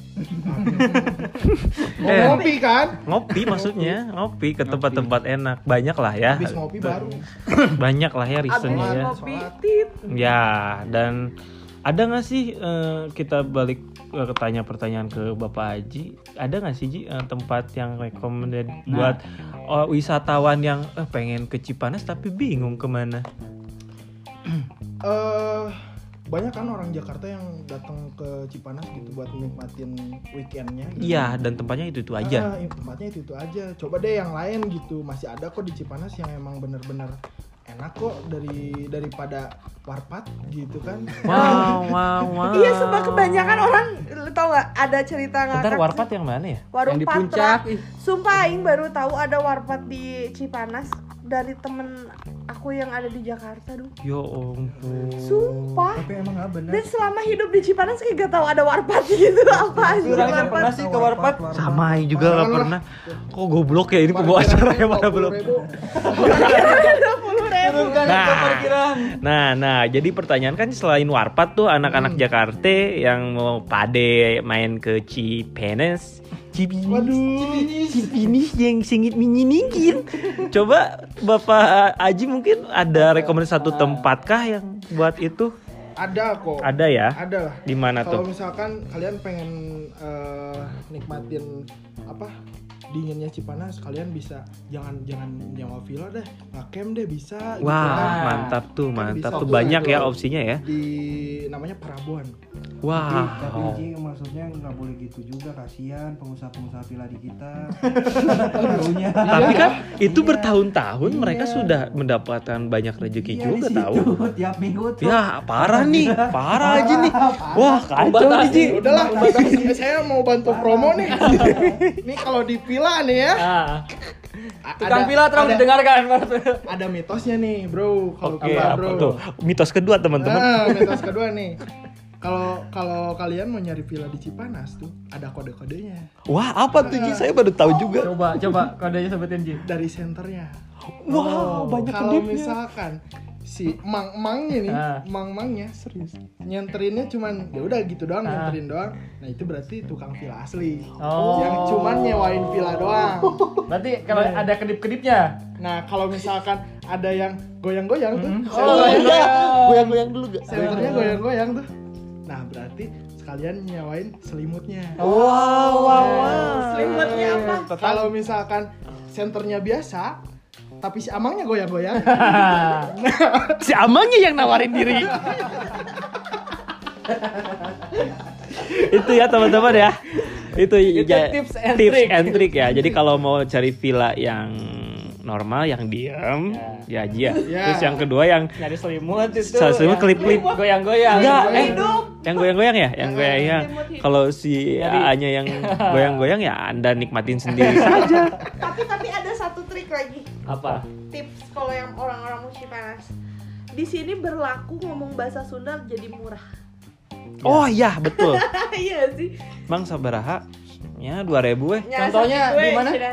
Speaker 4: Mau
Speaker 1: Eh.
Speaker 4: ngopi kan?
Speaker 1: ngopi maksudnya, ngopi ke tempat-tempat enak. Banyak lah ya.
Speaker 4: Habis ngopi baru.
Speaker 1: Banyak lah ya
Speaker 5: Abis
Speaker 1: reasonnya ya.
Speaker 5: ngopi
Speaker 4: Sholat.
Speaker 5: tit
Speaker 1: Ya, dan ada nggak sih eh, kita balik eh, tanya pertanyaan ke Bapak Haji, ada nggak sih Ji eh, tempat yang recommended buat oh, wisatawan yang eh, pengen ke Cipanas tapi bingung kemana?
Speaker 4: eh banyak kan orang Jakarta yang datang ke Cipanas gitu buat nikmatin weekendnya. gitu.
Speaker 1: Iya, dan tempatnya itu itu aja.
Speaker 4: Ah, tempatnya itu itu aja. Coba deh yang lain gitu. Masih ada kok di Cipanas yang emang bener-bener enak kok dari daripada warpat gitu kan.
Speaker 1: Wow, wow, wow.
Speaker 5: iya sebab kebanyakan orang lu tau gak ada cerita ngakak
Speaker 1: Bentar, warpat yang mana ya?
Speaker 5: warung
Speaker 2: yang di
Speaker 5: Patra.
Speaker 2: puncak ih.
Speaker 5: Sumpah Aing baru tahu ada warpat di Cipanas dari temen aku yang ada di Jakarta dong.
Speaker 1: Ya ampun.
Speaker 5: Sumpah.
Speaker 3: tapi emang nggak bener
Speaker 5: Dan selama hidup di Cipanas kayak gak tahu ada warpat
Speaker 2: [LAUGHS]
Speaker 5: gitu apa aja
Speaker 2: Lu Rani
Speaker 5: warpat.
Speaker 2: pernah sih ke warpat?
Speaker 1: Sama Aing juga nggak
Speaker 4: Parkiran
Speaker 1: pernah. Kok goblok ya ini pembawa acara ya mana belum?
Speaker 4: 20.000.
Speaker 5: [LAUGHS] Dua puluh ribu.
Speaker 2: Turunkan ke
Speaker 1: Nah.
Speaker 2: parkiran.
Speaker 1: Nah, nah, jadi pertanyaan kan selain warpat tuh
Speaker 4: Hmm.
Speaker 1: anak-anak Jakarta yang mau pade main ke Cipenes, Cipinis,
Speaker 4: Waduh.
Speaker 1: Cipinis yang singit minyiningin. Coba Bapak Aji mungkin ada rekomendasi satu tempat kah yang buat itu?
Speaker 4: Ada kok.
Speaker 1: Ada ya?
Speaker 4: Ada lah.
Speaker 1: Di mana
Speaker 4: Kalau
Speaker 1: tuh?
Speaker 4: misalkan kalian pengen eh, nikmatin apa dinginnya Cipanas, kalian bisa jangan jangan nyawa villa deh, ngakem deh bisa. gitu kan.
Speaker 1: Wah, mantap tuh, mantap tuh
Speaker 4: bisa
Speaker 1: banyak ya
Speaker 4: tuh.
Speaker 1: opsinya ya.
Speaker 4: Di namanya Parabuan.
Speaker 1: Ah,
Speaker 4: Iya,
Speaker 3: Iya, tapi
Speaker 1: Wow.
Speaker 3: Ji, maksudnya nggak boleh gitu juga kasihan pengusaha-pengusaha villa di
Speaker 6: [LAUGHS]
Speaker 3: kita Taruhnya.
Speaker 1: Tapi kan itu
Speaker 3: Iya.
Speaker 1: bertahun-tahun mereka
Speaker 3: Iya.
Speaker 1: sudah mendapatkan banyak rezeki
Speaker 3: Iya,
Speaker 1: juga
Speaker 3: di
Speaker 1: tahu.
Speaker 3: situ, tiap minggu tuh
Speaker 1: Ya parah nih, parah aja nih. Wah kacau nih Ji.
Speaker 4: Ya Udahlah, saya mau bantu promo nih. [LAUGHS] nih kalau di villa nih ya.
Speaker 2: Ah,
Speaker 4: a-
Speaker 2: tukang
Speaker 4: ada-
Speaker 2: pila terang
Speaker 4: ada,
Speaker 2: didengarkan.
Speaker 4: ada mitosnya nih, Bro. Kalau
Speaker 1: Oke,
Speaker 4: villa,
Speaker 1: apa
Speaker 4: Bro.
Speaker 1: tuh? Mitos kedua teman-teman.
Speaker 4: Ah, mitos kedua nih. Kalau kalau kalian mau nyari villa di Cipanas tuh ada kode-kodenya
Speaker 1: Wah apa tuh Ji? Saya baru tahu juga.
Speaker 2: coba, coba kodenya sebutin Ji.
Speaker 4: dari senternya.
Speaker 1: Wah banyak
Speaker 4: kalau
Speaker 1: kedipnya.
Speaker 4: misalkan si mang-mangnya nih,
Speaker 2: Ah.
Speaker 4: mang-mangnya serius. Nyenterinnya cuman ya udah gitu doang,
Speaker 2: Ah.
Speaker 4: nyenterin doang. Nah, itu berarti tukang villa asli.
Speaker 2: Oh.
Speaker 4: Yang cuman nyewain villa doang.
Speaker 2: Berarti kalau
Speaker 1: Iya.
Speaker 2: ada kedip-kedipnya.
Speaker 4: Nah, kalau misalkan ada yang goyang-goyang tuh,
Speaker 2: Oh,
Speaker 4: senternya-
Speaker 2: iya.
Speaker 1: Goyang-goyang dulu gak?
Speaker 4: senternya goyang-goyang tuh. Nah, berarti sekalian nyewain selimutnya.
Speaker 2: Oh,
Speaker 1: Wow wow wow.
Speaker 5: Selimutnya
Speaker 2: Iya.
Speaker 5: apa?
Speaker 4: Kalau misalkan senternya biasa, tapi si
Speaker 2: [LAUGHS]
Speaker 4: amangnya goyang-goyang,
Speaker 1: Si Amangnya yang nawarin diri. itu ya teman-teman ya. Itu, ya-
Speaker 2: tips and
Speaker 1: tips
Speaker 2: trick.
Speaker 1: and trick ya. Jadi kalau mau cari villa yang normal yang diam ya aja ya.
Speaker 4: Ya.
Speaker 1: Terus yang kedua yang
Speaker 2: Nyari selimut itu.
Speaker 1: Selimut
Speaker 2: yang
Speaker 1: kelip-kelip.
Speaker 2: Goyang-goyang.
Speaker 1: Enggak, eh.
Speaker 5: Hidup.
Speaker 1: yang goyang-goyang ya, yang goyang-goyang.
Speaker 5: Selimut hidup.
Speaker 1: Kalau si A-nya yang goyang-goyang ya Anda nikmatin sendiri saja.
Speaker 5: Tapi tapi ada satu trik lagi.
Speaker 2: Apa?
Speaker 5: Tips kalau yang orang-orang musim panas. Di sini berlaku ngomong bahasa Sunda jadi murah. [LAUGHS]
Speaker 1: Oh iya, betul.
Speaker 5: Iya sih.
Speaker 1: Bang sabaraha? Ya 2000 eh.
Speaker 5: Nyasar
Speaker 2: Contohnya
Speaker 5: gue,
Speaker 2: di mana?
Speaker 5: Cina.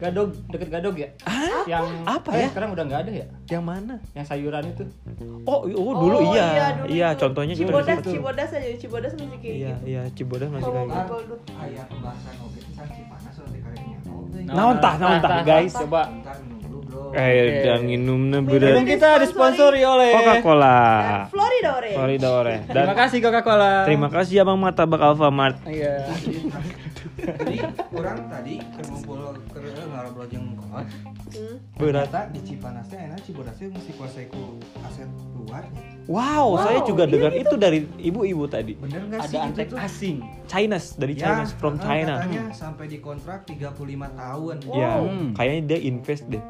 Speaker 2: Gadog, deket gadog ya?
Speaker 1: Ah,
Speaker 2: Yang
Speaker 1: Apa
Speaker 2: eh,
Speaker 1: ya?
Speaker 2: Sekarang udah nggak ada ya?
Speaker 1: yang mana?
Speaker 2: Yang sayuran itu.
Speaker 1: Oh, i- oh dulu iya. Iya,
Speaker 5: dulu itu.
Speaker 1: contohnya gitu.
Speaker 5: Cibodas, Cibodas aja, Cibodas masih kayak
Speaker 1: Iya,
Speaker 5: gitu.
Speaker 1: iya Cibodas masih
Speaker 5: Kalau
Speaker 1: kayak gitu.
Speaker 5: Google dulu.
Speaker 6: Kayak pembahasan oke, kan Cipanas nanti kayaknya.
Speaker 3: Nah.
Speaker 6: Oke.
Speaker 1: Naon tah, naon tah, guys.
Speaker 2: nah, Coba.
Speaker 6: Bentar minum dulu, Bro.
Speaker 1: Nah. Eh, dan minumnya
Speaker 2: Minum
Speaker 1: berat.
Speaker 2: kita disponsori oleh
Speaker 1: Coca-Cola.
Speaker 5: Dan Floridore.
Speaker 1: Ah. Florida Ore. Dan
Speaker 2: Terima kasih Coca-Cola.
Speaker 1: terima kasih Abang Martabak Alfamart.
Speaker 2: Iya.
Speaker 6: Jadi orang tadi ngumpul ke ngobrol jeung kos.
Speaker 5: Hmm.
Speaker 1: Berat.
Speaker 6: Ternyata di Cipanasnya enak Cibodasnya mesti kuasai ku aset luarnya.
Speaker 1: Wow, saya juga dengar itu dari ibu-ibu tadi.
Speaker 6: Bener enggak sih
Speaker 2: Ada
Speaker 6: gitu
Speaker 2: antek
Speaker 6: tuh?
Speaker 2: asing.
Speaker 1: Chinese
Speaker 3: Ya,
Speaker 1: dari China,
Speaker 3: ah,
Speaker 1: from
Speaker 6: eh,
Speaker 1: China.
Speaker 6: Katanya sampai dikontrak 35 tahun.
Speaker 1: Ya,
Speaker 2: Wow.
Speaker 1: kayaknya dia invest deh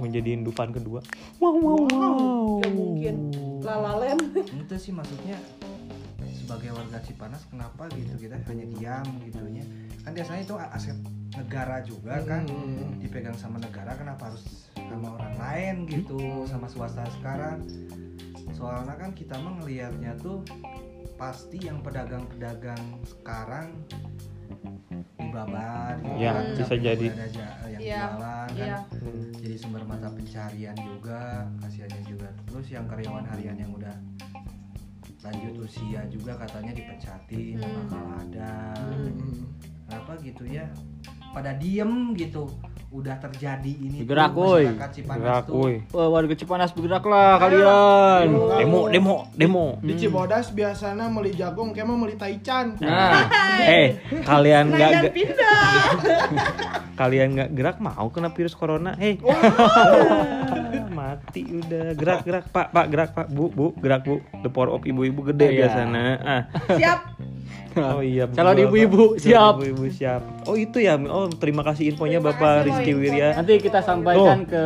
Speaker 1: mau jadiin Dufan kedua. Wow, wow, wow.
Speaker 5: Gak mungkin. Lalalen.
Speaker 6: Itu sih maksudnya sebagai warga Cipanas kenapa gitu kita hanya diam gitunya. Kan biasanya itu aset negara negara
Speaker 4: Iya
Speaker 6: juga kan
Speaker 1: Hmm.
Speaker 6: dipegang sama negara kenapa harus sama orang lain gitu
Speaker 1: Hmm.
Speaker 6: sama swasta sekarang soalnya kan kita mah ngelihatnya tuh pasti yang pedagang-pedagang sekarang dibabat gitu
Speaker 1: Ya,
Speaker 6: kan.
Speaker 1: bisa
Speaker 6: Siapa
Speaker 1: jadi.
Speaker 6: ada aja yang
Speaker 5: Iya,
Speaker 6: jualan kan
Speaker 5: Iya.
Speaker 6: jadi sumber mata pencarian juga kasihannya juga terus yang karyawan harian yang udah lanjut usia juga katanya dipecatin
Speaker 5: Hmm.
Speaker 6: bakal ada
Speaker 4: Hmm.
Speaker 6: kenapa gitu ya pada diem gitu udah terjadi ini tuh,
Speaker 2: Bergerak, woy.
Speaker 6: masyarakat Cipanas
Speaker 1: Gerak,
Speaker 6: tuh.
Speaker 1: woi.
Speaker 2: Wah, warga Cipanas bergeraklah kalian.
Speaker 1: Demo, demo, demo.
Speaker 4: Di Cibodas biasanya meli jagung, kemah meli taichan.
Speaker 2: Nah,
Speaker 1: Eh, kalian nggak
Speaker 5: Najan
Speaker 1: ge-
Speaker 5: Nah, pindah.
Speaker 1: [LAUGHS] kalian nggak gerak mau kena virus corona? Hei. [LAUGHS] mati udah gerak gerak pak pak gerak pak bu bu gerak bu the power of ibu-ibu gede
Speaker 2: Iya.
Speaker 1: biasanya ah
Speaker 5: Siap.
Speaker 1: oh iya betul,
Speaker 2: Calon
Speaker 1: Pak.
Speaker 2: ibu-ibu,
Speaker 1: Calon
Speaker 2: siap.
Speaker 1: ibu-ibu siap oh itu ya oh terima kasih infonya
Speaker 5: Terima
Speaker 1: bapak
Speaker 5: kasih,
Speaker 1: Rizky
Speaker 5: Boy,
Speaker 1: Wirya
Speaker 5: infonya.
Speaker 2: nanti kita sampaikan ke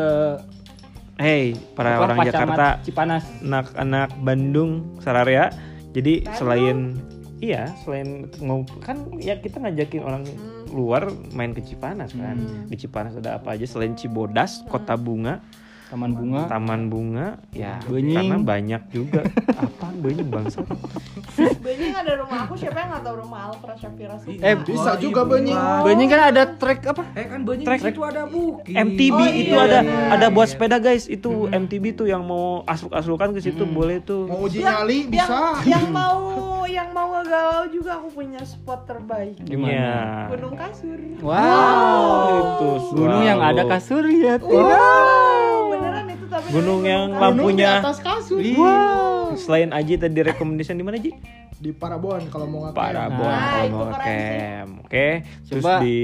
Speaker 1: Hei, para
Speaker 2: apa,
Speaker 1: orang
Speaker 2: Pak Camat
Speaker 1: Jakarta,
Speaker 2: Cipanas.
Speaker 1: anak-anak Bandung, Sararea. Jadi
Speaker 5: Bandung.
Speaker 1: selain iya, selain ngom- kan ya kita ngajakin orang
Speaker 5: Hmm.
Speaker 1: luar main ke Cipanas kan. Di Cipanas ada apa aja selain Cibodas,
Speaker 5: Hmm.
Speaker 1: Kota Bunga,
Speaker 2: Taman bunga.
Speaker 1: Taman Bunga, ya karena
Speaker 2: Benying.
Speaker 1: banyak
Speaker 5: [LAUGHS]
Speaker 1: juga. apa banyak bangsa?
Speaker 5: Banyak ada rumah aku siapa yang nggak tahu rumah Alfred Shafira Supa?
Speaker 2: Eh,
Speaker 4: bisa
Speaker 6: Oh,
Speaker 4: juga
Speaker 6: ibu.
Speaker 4: Benying.
Speaker 2: Benying kan ada trek apa?
Speaker 6: eh kan banyak
Speaker 1: Trek.
Speaker 6: itu ada bukit
Speaker 1: MTB
Speaker 5: Oh,
Speaker 1: itu
Speaker 5: [LAUGHS] iya,
Speaker 1: ada
Speaker 5: iya, Hmm.
Speaker 1: ada buat
Speaker 6: iya.
Speaker 1: sepeda guys, itu MTB tuh yang mau asuk-asukan ke situ boleh tuh.
Speaker 4: Mau uji
Speaker 5: Lah,
Speaker 4: nyali bisa.
Speaker 5: Yang, yang mau yang mau ngegalau juga aku punya spot terbaik.
Speaker 2: Gimana?
Speaker 1: Iya.
Speaker 5: Gunung kasur.
Speaker 2: Wow.
Speaker 1: Itu
Speaker 2: Gunung yang
Speaker 1: selalu.
Speaker 2: ada kasur ya.
Speaker 5: Wow, beneran itu tapi
Speaker 1: Gunung
Speaker 5: namanya
Speaker 1: yang
Speaker 5: gunung
Speaker 1: lampu-
Speaker 4: Gunung di
Speaker 1: Lampunya.
Speaker 4: atas kasur.
Speaker 1: Wow. Selain Aji tadi recommendation di mana Ji?
Speaker 4: Di Parabon kalau mau ngapain.
Speaker 1: Parabon
Speaker 2: Nah,
Speaker 1: kalau
Speaker 5: Ah, itu
Speaker 1: mau
Speaker 5: keren
Speaker 1: camp. Oke. Terus
Speaker 2: Coba.
Speaker 1: di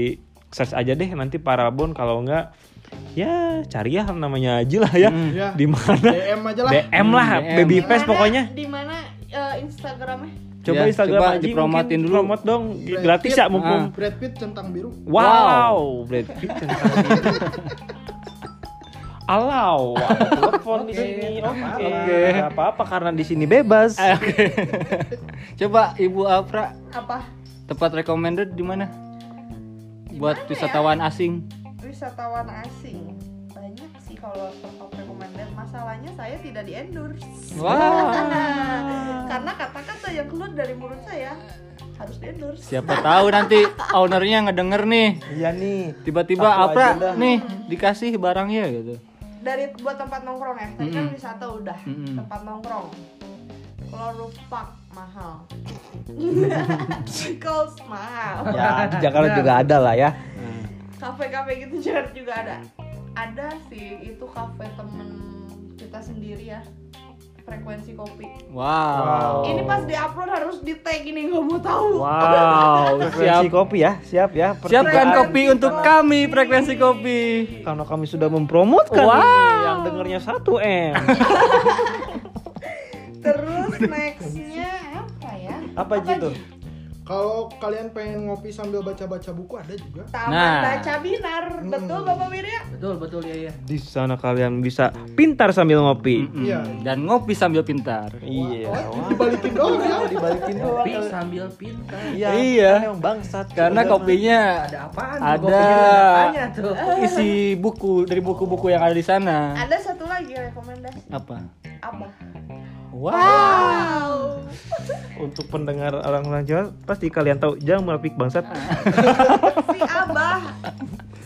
Speaker 1: search aja deh nanti Parabon kalau enggak ya cari ya namanya Aji lah ya.
Speaker 2: Hmm.
Speaker 4: Ya.
Speaker 1: Di mana?
Speaker 4: DM aja lah.
Speaker 1: DM lah,
Speaker 2: DM.
Speaker 1: baby
Speaker 5: Dimana-
Speaker 1: face pokoknya.
Speaker 5: Dimana eh, Instagramnya?
Speaker 1: Iya, Coba
Speaker 2: Ya,
Speaker 1: Instagram
Speaker 2: coba
Speaker 1: Aji
Speaker 2: dipromotin
Speaker 1: mungkin.
Speaker 2: dulu.
Speaker 1: Promot dong, gratis ya mumpung.
Speaker 4: Brad Pitt centang biru.
Speaker 1: Wow, Brad Pitt tentang itu. [LAUGHS] Alau, ada telepon di sini. Oke, nggak apa-apa karena di sini bebas.
Speaker 2: Eh, [LAUGHS] Oke. Coba Ibu Afra
Speaker 5: Apa?
Speaker 2: tempat recommended di mana? Buat
Speaker 5: Dimana
Speaker 2: wisatawan asing.
Speaker 5: wisatawan asing banyak sih kalau tempat recommended masalahnya saya tidak di endorse
Speaker 2: Ah. Wah.
Speaker 5: [LAUGHS] karena kata-kata yang keluar dari mulut saya harus di endorse
Speaker 2: Siapa tahu nanti ownernya ngedenger nih.
Speaker 1: Iya nih.
Speaker 2: Tiba-tiba
Speaker 1: Satu aja dah.
Speaker 2: Afra nih dikasih barangnya gitu.
Speaker 5: dari buat tempat nongkrong ya tadi kan
Speaker 2: Mm-mm.
Speaker 5: wisata udah
Speaker 2: Mm-mm.
Speaker 5: tempat nongkrong kalau roof park mahal
Speaker 2: [LAUGHS]
Speaker 5: Circles mahal
Speaker 1: Ya, di Jakarta juga ada lah ya.
Speaker 5: kafe-kafe gitu Jakarta juga ada ada sih itu kafe temen kita sendiri ya frekuensi kopi
Speaker 2: Wow.
Speaker 5: Ini pas di upload harus di tag ini nggak mau tahu.
Speaker 2: Wow,
Speaker 1: Siap
Speaker 2: siap.
Speaker 1: kopi ya, siap ya.
Speaker 2: Siapkan
Speaker 1: Pertigaan.
Speaker 2: kopi untuk kami frekuensi kopi.
Speaker 1: Karena kami sudah mempromotkan
Speaker 2: Wow.
Speaker 1: ini, yang dengernya satu m.
Speaker 5: Terus nextnya apa ya?
Speaker 1: Apa gitu?
Speaker 4: Kalau kalian pengen ngopi sambil baca-baca buku ada juga.
Speaker 5: Taman
Speaker 2: Nah.
Speaker 5: Baca Binar, betul Bapak Wirya?
Speaker 6: betul betul ya ya
Speaker 1: Di sana kalian bisa pintar sambil ngopi.
Speaker 2: Mm-mm.
Speaker 4: Iya.
Speaker 2: Hmm. Dan ngopi sambil pintar.
Speaker 1: Iya.
Speaker 4: Oh, dibalikin doang ya.
Speaker 1: Dibalikin
Speaker 6: kopi sambil pintar
Speaker 1: Iya.
Speaker 2: Iya.
Speaker 1: Yang bangsat.
Speaker 2: Karena
Speaker 1: Udah.
Speaker 2: kopinya
Speaker 6: ada apaan tuh
Speaker 2: Ada.
Speaker 6: kopinya? Ada apanya tuh
Speaker 1: Gitu.
Speaker 2: isi buku dari buku-buku yang ada di sana.
Speaker 5: Ada satu lagi rekomendasi
Speaker 2: Apa?
Speaker 5: apa?
Speaker 2: Wow.
Speaker 5: Wow.
Speaker 1: untuk pendengar orang-orang Jawa pasti kalian tahu jangan merapik bangsat.
Speaker 5: Si Abah,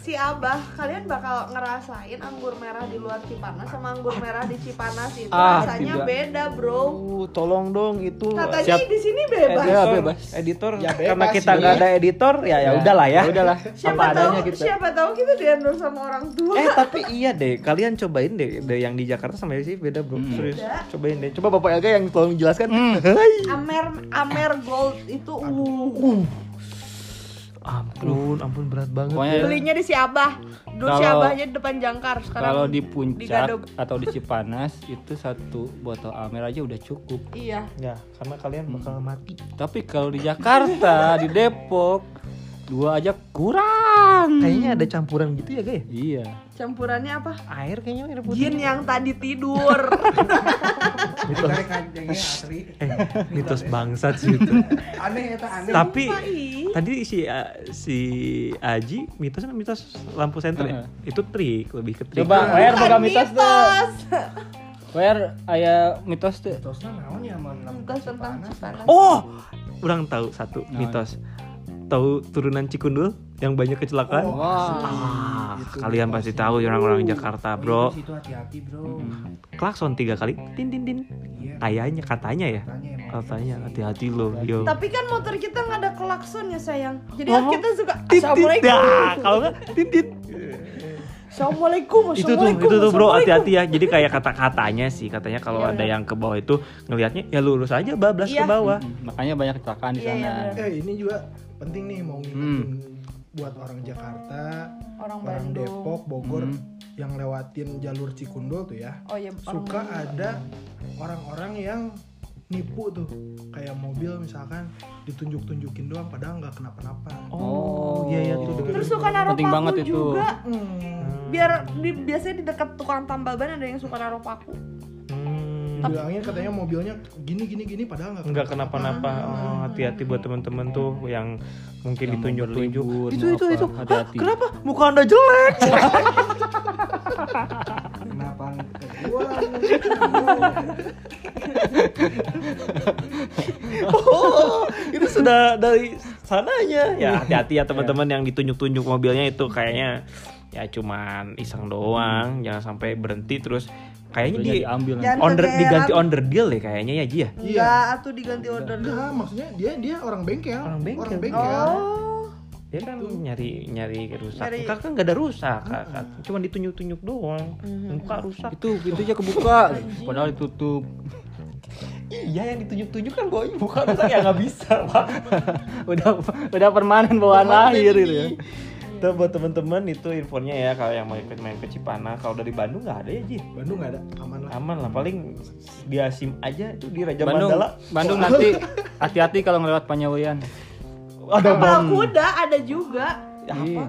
Speaker 5: si Abah, kalian bakal ngerasain anggur merah di luar Cipanas sama anggur merah di Cipanas itu
Speaker 2: Ah,
Speaker 5: rasanya
Speaker 2: tidak.
Speaker 5: beda, Bro.
Speaker 1: Uh, tolong dong itu
Speaker 5: Katanya di sini bebas.
Speaker 1: editor,
Speaker 2: Ya, bebas.
Speaker 1: editor
Speaker 4: Ya, bebas
Speaker 1: karena kita
Speaker 4: sih.
Speaker 1: nggak ada editor ya ya udahlah ya. gitu.
Speaker 2: udahlah.
Speaker 5: Siapa tahu,
Speaker 2: gitu.
Speaker 5: siapa tahu kita di endorse sama orang tua.
Speaker 1: Eh tapi iya deh, kalian cobain deh, deh yang di Jakarta sama yang di sini beda bro, serius.
Speaker 5: Beda.
Speaker 1: Cobain deh. Coba Bapak Elga yang tolong jelaskan.
Speaker 5: Amer Amer Gold itu uh,
Speaker 1: ampun, ampun berat banget. ya.
Speaker 2: Pokoknya
Speaker 5: belinya di si Abah. Dulu si
Speaker 2: Kalau-
Speaker 5: Abahnya di depan Jangkar sekarang.
Speaker 2: kalau di
Speaker 5: di
Speaker 2: puncak
Speaker 5: Gadog.
Speaker 2: atau di Cipanas [LAUGHS] itu satu botol Amer aja udah cukup.
Speaker 5: Iya.
Speaker 1: Ya, karena kalian bakal mati.
Speaker 2: Tapi kalau di Jakarta, di Depok dua aja kurang.
Speaker 1: Kayaknya ada campuran gitu ya, guys.
Speaker 2: Iya.
Speaker 5: Campurannya apa?
Speaker 1: Air kayaknya air putih.
Speaker 5: Jin yang tadi tidur.
Speaker 6: ditarik anjingnya asli
Speaker 1: Eh, Mitos bangsat sih itu. [LAUGHS]
Speaker 6: aneh eta aneh
Speaker 1: [LAUGHS] tapi
Speaker 5: Sumpah, ih.
Speaker 1: Tadi si A- si Aji mitosnya mitos lampu senter ya? Itu trik, lebih ke trik.
Speaker 2: Coba, Wer boga
Speaker 5: Bukan
Speaker 2: mitos tuh. Wer aya mitos tuh.
Speaker 6: Tosna naon ya man lampu
Speaker 5: mitos tentang
Speaker 6: panas.
Speaker 5: Cipanas
Speaker 1: Oh, orang tahu satu
Speaker 2: Nah.
Speaker 1: mitos. Tahu turunan Cikundul yang banyak kecelakaan?
Speaker 2: Oh. Wah. Gitu.
Speaker 1: ah, kalian pasti tahu ya orang-orang
Speaker 6: Oh,
Speaker 1: Jakarta, Nah, Bro.
Speaker 6: iya, di situ hati-hati, Bro.
Speaker 2: Hmm.
Speaker 1: Klakson tiga kali, tin tin tin.
Speaker 6: Iya.
Speaker 1: Kayaknya katanya ya.
Speaker 6: Katanya emang
Speaker 1: Katanya
Speaker 6: iya sih.
Speaker 1: hati-hati lo, yo.
Speaker 5: tapi kan motor kita nggak ada klaksonnya sayang jadi
Speaker 1: Ngomong,
Speaker 5: kita suka
Speaker 1: Tit tit.
Speaker 5: assalamualaikum
Speaker 1: Dah, kalau enggak tit tit.
Speaker 5: assalamualaikum
Speaker 1: Itu tuh,
Speaker 5: assalamualaikum
Speaker 1: itu tuh bro,
Speaker 5: assalamualaikum.
Speaker 1: hati-hati ya. Jadi kayak kata-katanya sih, katanya kalau
Speaker 5: Iya,
Speaker 1: ada
Speaker 5: benar.
Speaker 1: yang ke bawah itu ngelihatnya ya lurus aja bablas ke
Speaker 5: Iya.
Speaker 1: bawah.
Speaker 2: Makanya banyak kecelakaan di
Speaker 5: Iya, iya,
Speaker 2: sana.
Speaker 5: benar.
Speaker 4: Eh ini juga penting nih mau ngingetin
Speaker 1: Hmm.
Speaker 4: buat orang Jakarta,
Speaker 5: orang
Speaker 4: orang
Speaker 5: Bandung
Speaker 4: Depok, Bogor
Speaker 2: Hmm.
Speaker 4: yang lewatin jalur Cikundul tuh ya.
Speaker 5: oh iya orang
Speaker 4: Suka
Speaker 5: Bandung.
Speaker 4: ada orang-orang yang nipu tuh kayak mobil misalkan ditunjuk-tunjukin doang padahal nggak kenapa-napa.
Speaker 2: Oh,
Speaker 1: iya iya tuh. tuh.
Speaker 5: terus suka naruh
Speaker 2: Penting
Speaker 5: paku
Speaker 2: banget itu.
Speaker 5: juga
Speaker 4: Hmm.
Speaker 5: biar di, biasanya di dekat tukang tambal ban ada yang suka naruh paku
Speaker 1: Hmm.
Speaker 4: Bilangnya katanya mobilnya gini gini gini padahal nggak
Speaker 1: nggak kenapa-napa
Speaker 5: Ah.
Speaker 1: Oh, hati-hati buat teman-teman tuh yang mungkin
Speaker 2: Yang mau
Speaker 1: ditunjuk-tunjuk
Speaker 2: berlibur,
Speaker 1: itu
Speaker 2: mau
Speaker 5: [LAUGHS]
Speaker 1: itu
Speaker 2: apa,
Speaker 1: itu Hah,
Speaker 2: hati-hati.
Speaker 1: kenapa muka anda jelek
Speaker 6: Kenapa eh, ke gua?
Speaker 1: oh, itu sudah dari sananya ya
Speaker 5: Iya.
Speaker 1: hati-hati ya teman-teman yang ditunjuk-tunjuk mobilnya itu kayaknya ya cuman iseng doang jangan sampai berhenti terus kayaknya
Speaker 2: Mobilnya
Speaker 1: di
Speaker 2: diambil nanti.
Speaker 5: Jangan
Speaker 1: under
Speaker 5: kegeeran.
Speaker 1: diganti under deal deh kayaknya ya Ji ya
Speaker 4: Iya.
Speaker 5: enggak atau diganti order dulu.
Speaker 4: Enggak, maksudnya dia dia orang bengkel.
Speaker 1: Orang bengkel.
Speaker 5: oh
Speaker 1: dia kan nyari nyari rusak
Speaker 5: Nyari-
Speaker 1: Kakak kan nggak ada rusak kakak cuma ditunjuk-tunjuk doang muka rusak
Speaker 2: Itu pintunya kebuka, padahal ditutup. [LAUGHS]
Speaker 1: iya yang ditunjuk-tunjuk kan gue muka rusak ya nggak bisa [LAUGHS] pak
Speaker 2: udah udah permanen bawaan lahir gitu ya.
Speaker 1: Itu buat temen-temen itu infonya ya kalau yang mau ikut main ke Cipanah kalau dari Bandung nggak ada ya Ji
Speaker 4: Bandung nggak ada aman lah.
Speaker 1: aman lah paling dia sim aja itu di Raja
Speaker 2: Bandung,
Speaker 1: Mandala
Speaker 2: Bandung nanti hati-hati kalau ngelewat Panyawian.
Speaker 1: ada
Speaker 5: kapal kuda ada juga
Speaker 1: apa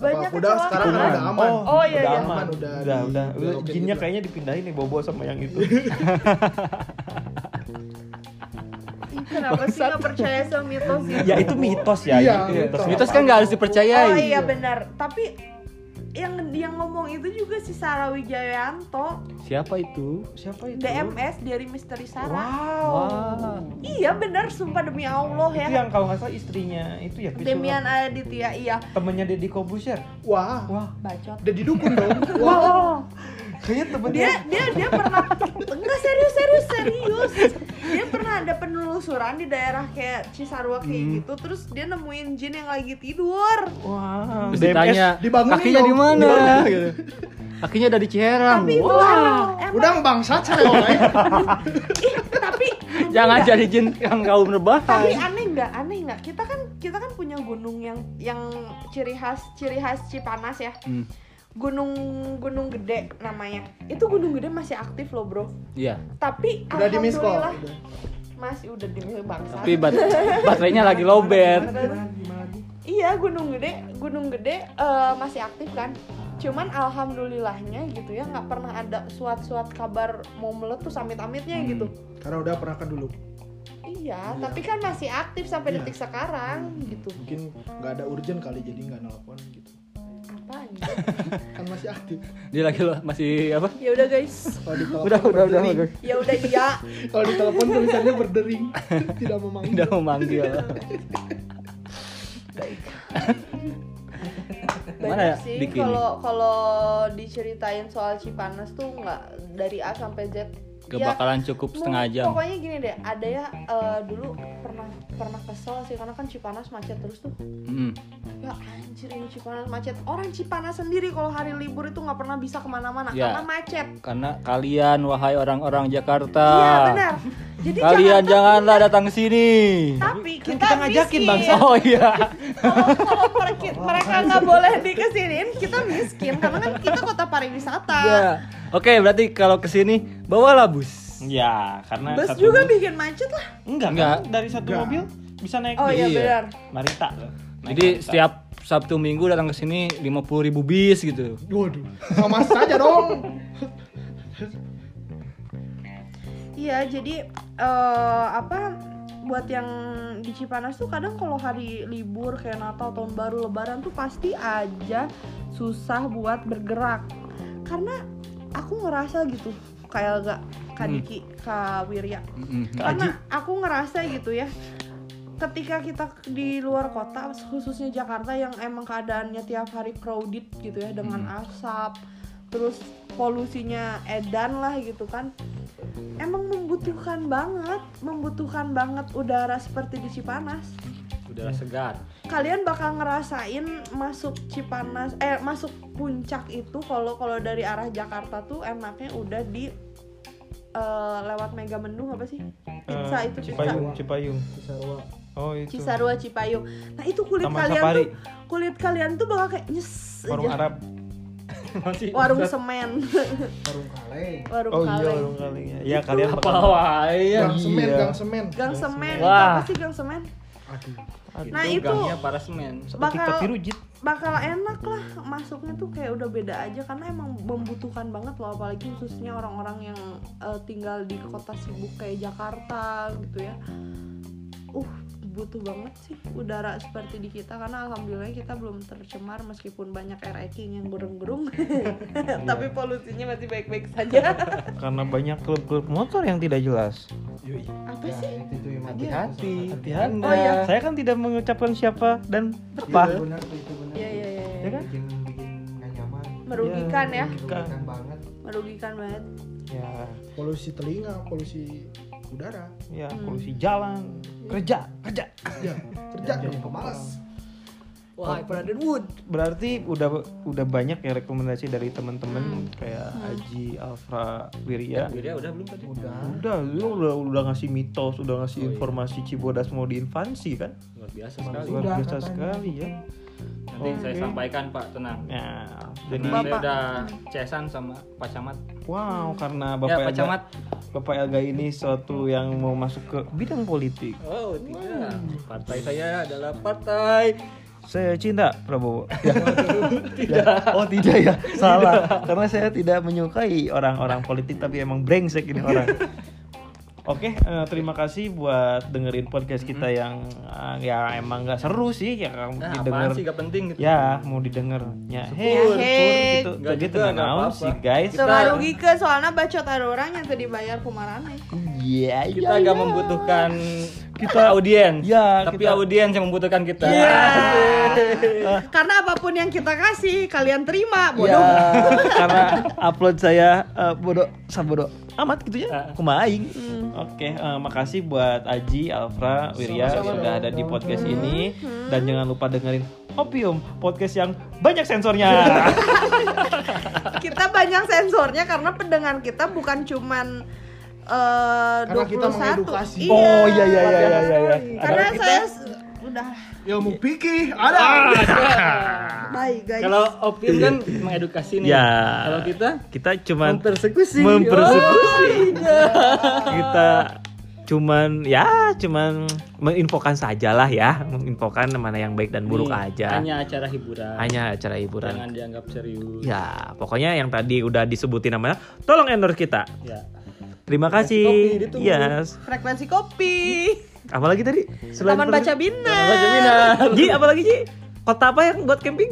Speaker 5: banyak
Speaker 4: Kalau udah sekarang kan
Speaker 5: kecelakaan
Speaker 4: udah aman.
Speaker 5: Oh, iya,
Speaker 1: udah
Speaker 5: iya.
Speaker 1: aman udah
Speaker 4: Udah,
Speaker 1: udah
Speaker 4: di-
Speaker 1: udah,
Speaker 4: udah oke
Speaker 1: jinnya
Speaker 4: gitu.
Speaker 1: kayaknya dipindahin nih bobo sama yang itu
Speaker 5: Ih, kenapa sih nggak percaya sama mitos itu
Speaker 1: ya itu mitos ya
Speaker 4: Iya,
Speaker 1: itu mitos,
Speaker 2: Mitos kan nggak harus dipercayai.
Speaker 5: Oh iya benar, tapi yang dia ngomong itu juga si Sarah Wijayanto,
Speaker 2: Siapa itu?
Speaker 1: siapa itu
Speaker 5: DMS dari Misteri Sarah.
Speaker 1: wow
Speaker 2: Wah.
Speaker 5: Iya benar, sumpah demi Allah ya.
Speaker 1: itu yang kalau nggak salah istrinya itu ya Priscilla.
Speaker 5: Demian Aditya, iya
Speaker 1: temennya Deddy Corbuzier
Speaker 4: Wah,
Speaker 5: bacot.
Speaker 4: udah
Speaker 2: [LAUGHS]
Speaker 4: didukung dong. Wah, oh,
Speaker 5: Wow.
Speaker 1: kayaknya temennya
Speaker 5: Dia dia dia pernah enggak serius serius serius. Dia pernah ada penelusuran di daerah kayak Cisarua kayak gitu, terus dia nemuin jin yang lagi tidur.
Speaker 1: wah
Speaker 2: Terus
Speaker 1: DMS.
Speaker 2: ditanya,
Speaker 4: dibangunin
Speaker 2: kakinya
Speaker 4: dong. Gitu.
Speaker 2: di mana?
Speaker 4: [LAUGHS]
Speaker 2: Kakinya ada di Ciherang.
Speaker 5: Tapi itu
Speaker 2: Nah, Wah.
Speaker 5: emang, emang-
Speaker 4: udah bangsat
Speaker 2: [LAUGHS]
Speaker 4: saya orang.
Speaker 5: [LAUGHS]
Speaker 4: ya.
Speaker 5: ih, tapi
Speaker 2: Jangan jadi jin yang kau berbahaya.
Speaker 5: tapi aneh nggak aneh nggak kita kan kita kan punya gunung yang yang ciri khas ciri khas Cipanas ya
Speaker 2: Hmm,
Speaker 5: gunung gunung gede namanya itu gunung gede masih aktif loh bro
Speaker 2: Iya.
Speaker 5: tapi
Speaker 4: Udah di miss call.
Speaker 5: alhamdulillah
Speaker 4: Udah.
Speaker 5: masih udah di bangsa
Speaker 2: Tapi bat- baterainya lagi lowbat.
Speaker 5: iya gunung gede gunung gede eh, masih aktif kan cuman alhamdulillahnya gitu ya nggak pernah ada suat-suat kabar mau meletus amit-amitnya
Speaker 2: Hmm.
Speaker 5: gitu
Speaker 4: Karena udah pernah ke dulu.
Speaker 5: iya tapi kan masih aktif
Speaker 2: Iya.
Speaker 5: sampai detik sekarang gitu
Speaker 4: Mungkin nggak ada urgent kali jadi nggak nelpon gitu.
Speaker 5: apa
Speaker 4: Kan masih aktif.
Speaker 2: Dia lagi lo- masih apa?
Speaker 5: [LAUGHS] ya udah guys
Speaker 4: Kalau ditelepon
Speaker 2: Udah, udah, udah,
Speaker 4: berdering.
Speaker 2: udah.
Speaker 5: ya udah iya
Speaker 4: Kalau ditelepon tulisannya
Speaker 1: [LAUGHS]
Speaker 4: berdering, tidak memanggil.
Speaker 2: Udah memanggil.
Speaker 5: [LAUGHS]
Speaker 2: Mana ya?
Speaker 5: banyak sih
Speaker 2: Bikini.
Speaker 5: kalau kalau diceritain soal Cipanas tuh nggak dari A sampai Z
Speaker 2: Gak
Speaker 5: Ya,
Speaker 2: bakalan cukup setengah
Speaker 5: mungkin-
Speaker 2: jam.
Speaker 5: pokoknya gini deh ada ya eh, dulu pernah pernah kesel sih karena kan Cipanas macet terus tuh
Speaker 2: Mm.
Speaker 5: ya anjir ini Cipanas macet orang Cipanas sendiri kalau hari libur itu nggak pernah bisa kemana-mana
Speaker 2: Ya.
Speaker 5: karena macet
Speaker 2: Karena kalian wahai orang-orang Jakarta.
Speaker 5: iya benar jadi
Speaker 2: Ah. Kalian Kan
Speaker 5: jangan
Speaker 2: janganlah datang ke sini.
Speaker 5: tapi kita, miskin.
Speaker 2: Oh
Speaker 5: [LAUGHS]
Speaker 2: iya.
Speaker 5: kalau kalau mereka- mereka nggak boleh dikesinin kita miskin karena kan kita kota pariwisata
Speaker 2: Ya. Oke, berarti kalau ke sini bawalah bus.
Speaker 1: ya karena
Speaker 5: bus
Speaker 1: satu
Speaker 5: juga
Speaker 1: bus-
Speaker 5: bikin macet lah
Speaker 1: enggak,
Speaker 2: Enggak.
Speaker 1: kan? dari satu mobil bisa naik
Speaker 5: oh iya
Speaker 2: Iya.
Speaker 5: benar
Speaker 1: Marita Naik
Speaker 2: Jadi
Speaker 1: Marita.
Speaker 2: setiap Sabtu Minggu datang ke sini 50.000 ribu bis gitu.
Speaker 4: Waduh, sama saja dong.
Speaker 5: iya jadi eh, apa buat yang di Cipanas tuh kadang kalau hari libur kayak Natal, Tahun Baru, Lebaran tuh pasti aja susah buat bergerak. Karena aku ngerasa gitu kayak gak Kak
Speaker 2: Hmm.
Speaker 5: Diki, Kak Wirya.
Speaker 2: Mm-mm. Kak Aji.
Speaker 5: Karena aku ngerasa gitu ya ketika kita di luar kota khususnya Jakarta yang emang keadaannya tiap hari crowded gitu ya dengan
Speaker 1: Hmm.
Speaker 5: asap terus polusinya edan lah gitu kan emang membutuhkan banget membutuhkan banget udara seperti di Cipanas
Speaker 2: Udara segar.
Speaker 5: kalian bakal ngerasain masuk Cipanas eh masuk puncak itu kalau kalau dari arah Jakarta tuh enaknya udah di eh, lewat Megamendung apa sih pizza
Speaker 1: Eh,
Speaker 5: itu pizza
Speaker 1: Cipayung, Cipayung.
Speaker 3: Cisarua.
Speaker 1: Oh itu.
Speaker 5: Cisarua Cipayung nah itu kulit
Speaker 1: Taman
Speaker 5: kalian
Speaker 1: Safari.
Speaker 5: tuh kulit kalian tuh bakal kayak nyes
Speaker 1: Warung
Speaker 5: aja.
Speaker 1: Arab.
Speaker 5: warung semen [LAUGHS]
Speaker 3: Warung kaleng.
Speaker 5: warung
Speaker 1: Oh iya,
Speaker 5: kaleng
Speaker 1: warung kaleng. Ya kalian
Speaker 2: Apa
Speaker 1: bakal-
Speaker 2: wae ya?
Speaker 4: Gang semen,
Speaker 1: Iya.
Speaker 4: gang semen.
Speaker 5: gang semen itu
Speaker 2: Wah.
Speaker 5: apa sih gang semen
Speaker 4: Aduh.
Speaker 5: Nah, itu-
Speaker 2: gangnya para semen.
Speaker 1: Sama
Speaker 5: bakal-
Speaker 1: TikTok dirujit.
Speaker 5: bakal enak lah masuknya tuh kayak udah beda aja karena emang membutuhkan banget loh apalagi khususnya orang-orang yang eh, tinggal di kota sibuk kayak Jakarta gitu ya uh butuh banget sih udara seperti di kita karena alhamdulillah kita belum tercemar meskipun banyak air hiking yang
Speaker 1: [LAUGHS]
Speaker 5: gerung-gerung Iya. tapi polusinya masih baik-baik saja
Speaker 1: Karena banyak klub-klub motor yang tidak jelas.
Speaker 4: Yoi.
Speaker 5: apa
Speaker 6: Ya,
Speaker 5: sih
Speaker 6: itu gitu, cuy mati
Speaker 1: Hati-hati. Hati
Speaker 5: Anda. Oh, iya.
Speaker 1: Saya kan tidak mengucapkan siapa dan
Speaker 6: Itu
Speaker 1: apa.
Speaker 6: benar tuh, itu benar.
Speaker 5: Iya, iya, iya, iya.
Speaker 1: Ya kan?
Speaker 6: Bikin bikin nggak nyaman.
Speaker 5: merugikan ya
Speaker 1: Merugikan.
Speaker 6: Merugikan banget.
Speaker 5: merugikan banget
Speaker 1: Ya,
Speaker 4: Polusi telinga, polusi udara.
Speaker 1: ya polusi jalan.
Speaker 5: Hmm.
Speaker 1: Kerja, kerja.
Speaker 4: Ya, kerja dong pemalas.
Speaker 5: wah Brandon Wood
Speaker 1: Berarti udah udah banyak ya rekomendasi dari teman-teman kayak Aji, Alfra, Wirya.
Speaker 2: Wirya ya udah belum tadi?
Speaker 6: Udah.
Speaker 1: Udah, lu udah udah ngasih mitos, udah ngasih informasi Cibodas mau diinvasi kan?
Speaker 2: Luar biasa sekali.
Speaker 1: Luar
Speaker 6: Udah,
Speaker 1: biasa
Speaker 6: katanya.
Speaker 1: sekali ya.
Speaker 2: Nanti saya
Speaker 1: Oke.
Speaker 2: sampaikan Pak, tenang.
Speaker 1: Nah, jadi
Speaker 2: Jadi saya
Speaker 5: Bapak.
Speaker 2: udah cesan sama Pak Camat.
Speaker 1: wow karena
Speaker 2: ya,
Speaker 1: Bapak
Speaker 2: Pak
Speaker 1: Elga,
Speaker 2: Camat.
Speaker 1: Bapak Elga ini suatu yang mau masuk ke bidang politik.
Speaker 2: Oh, tidak. Partai saya adalah partai.
Speaker 1: Saya cinta
Speaker 2: [LAUGHS]
Speaker 1: Prabowo. Ya. tidak. Oh, tidak ya. Salah. Karena saya tidak menyukai orang-orang politik tapi emang brengsek ini orang. Oke, eh, terima kasih buat dengerin podcast kita yang eh, ya emang nggak seru sih ya kamu
Speaker 2: Hmm. Nah,
Speaker 1: didengar.
Speaker 2: apaan sih gak penting gitu.
Speaker 1: Ya, mau didengar. Ya, hey,
Speaker 5: Ya,
Speaker 1: sepur,
Speaker 5: hey.
Speaker 1: gitu.
Speaker 2: Nggak
Speaker 1: Jadi
Speaker 2: juga,
Speaker 1: tenang
Speaker 2: nggak
Speaker 1: naon
Speaker 2: apa-apa.
Speaker 1: sih, guys.
Speaker 2: Kita-
Speaker 5: merugikan soalnya bacot ada orang yang tadi bayar ya. kumarane
Speaker 1: Iya,
Speaker 2: Kita agak membutuhkan
Speaker 1: Kita-
Speaker 2: audiens.
Speaker 1: Ya,
Speaker 2: tapi
Speaker 1: kita- Ya.
Speaker 2: audiens yang membutuhkan kita.
Speaker 5: [LAUGHS] Karena apapun yang kita kasih, kalian terima,
Speaker 1: Ya,
Speaker 5: bodoh.
Speaker 1: karena upload saya eh, bodoh sabodoh amat gitu ya. Kumaha aing. Oke, eh, makasih buat Aji, Alfra, Wirya sudah ada di podcast ini dan jangan lupa dengerin Opium, podcast yang banyak sensornya.
Speaker 5: Kita banyak sensornya karena pendengar kita bukan cuman eh,
Speaker 4: Karena kita
Speaker 5: 21.
Speaker 4: mengedukasi.
Speaker 1: oh iya iya iya iya iya. iya.
Speaker 5: Karena
Speaker 1: Ada-
Speaker 5: saya s- udah
Speaker 4: Ilmu pikir ada.
Speaker 1: Ah.
Speaker 5: bye guys.
Speaker 2: Kalau Opin kan mengedukasi nih.
Speaker 1: [LAUGHS] Ya.
Speaker 2: Kalau kita
Speaker 1: kita cuman
Speaker 2: mempersekusi. Oh, iya.
Speaker 1: mempersekusi. kita cuman ya cuman menginfokan sajalah ya, menginfokan mana yang baik dan buruk
Speaker 2: Ini
Speaker 1: aja.
Speaker 2: Iya. Hanya acara hiburan.
Speaker 1: hanya acara hiburan.
Speaker 2: Jangan dianggap serius.
Speaker 1: Ya, pokoknya yang tadi udah disebutin namanya, tolong endorse kita.
Speaker 2: Ya.
Speaker 1: Terima
Speaker 2: kopi,
Speaker 1: kasih.
Speaker 2: ditunggu.
Speaker 1: Yes.
Speaker 5: Frekuensi kopi,
Speaker 1: Apalagi tadi? Selain
Speaker 5: taman baca
Speaker 1: pergi-
Speaker 5: bintang.
Speaker 2: Baca Binar.
Speaker 1: Ji, apalagi Ji? Kota apa yang buat camping?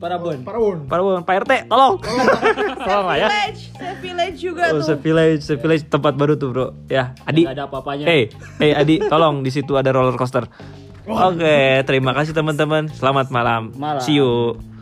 Speaker 2: Parabon.
Speaker 4: Parawon.
Speaker 1: Para Pak RT, tolong. [LAUGHS] tolong lah ya.
Speaker 5: Village, saya village juga
Speaker 1: Oh,
Speaker 5: tuh.
Speaker 1: se-village, se-village tempat baru tuh, Bro. Ya, Adi.
Speaker 2: Nggak ada apa-apanya.
Speaker 1: Hey, hey Adi, tolong di situ ada roller coaster. Oke, terima kasih teman-teman. Selamat malam.
Speaker 2: Malam.
Speaker 1: See you.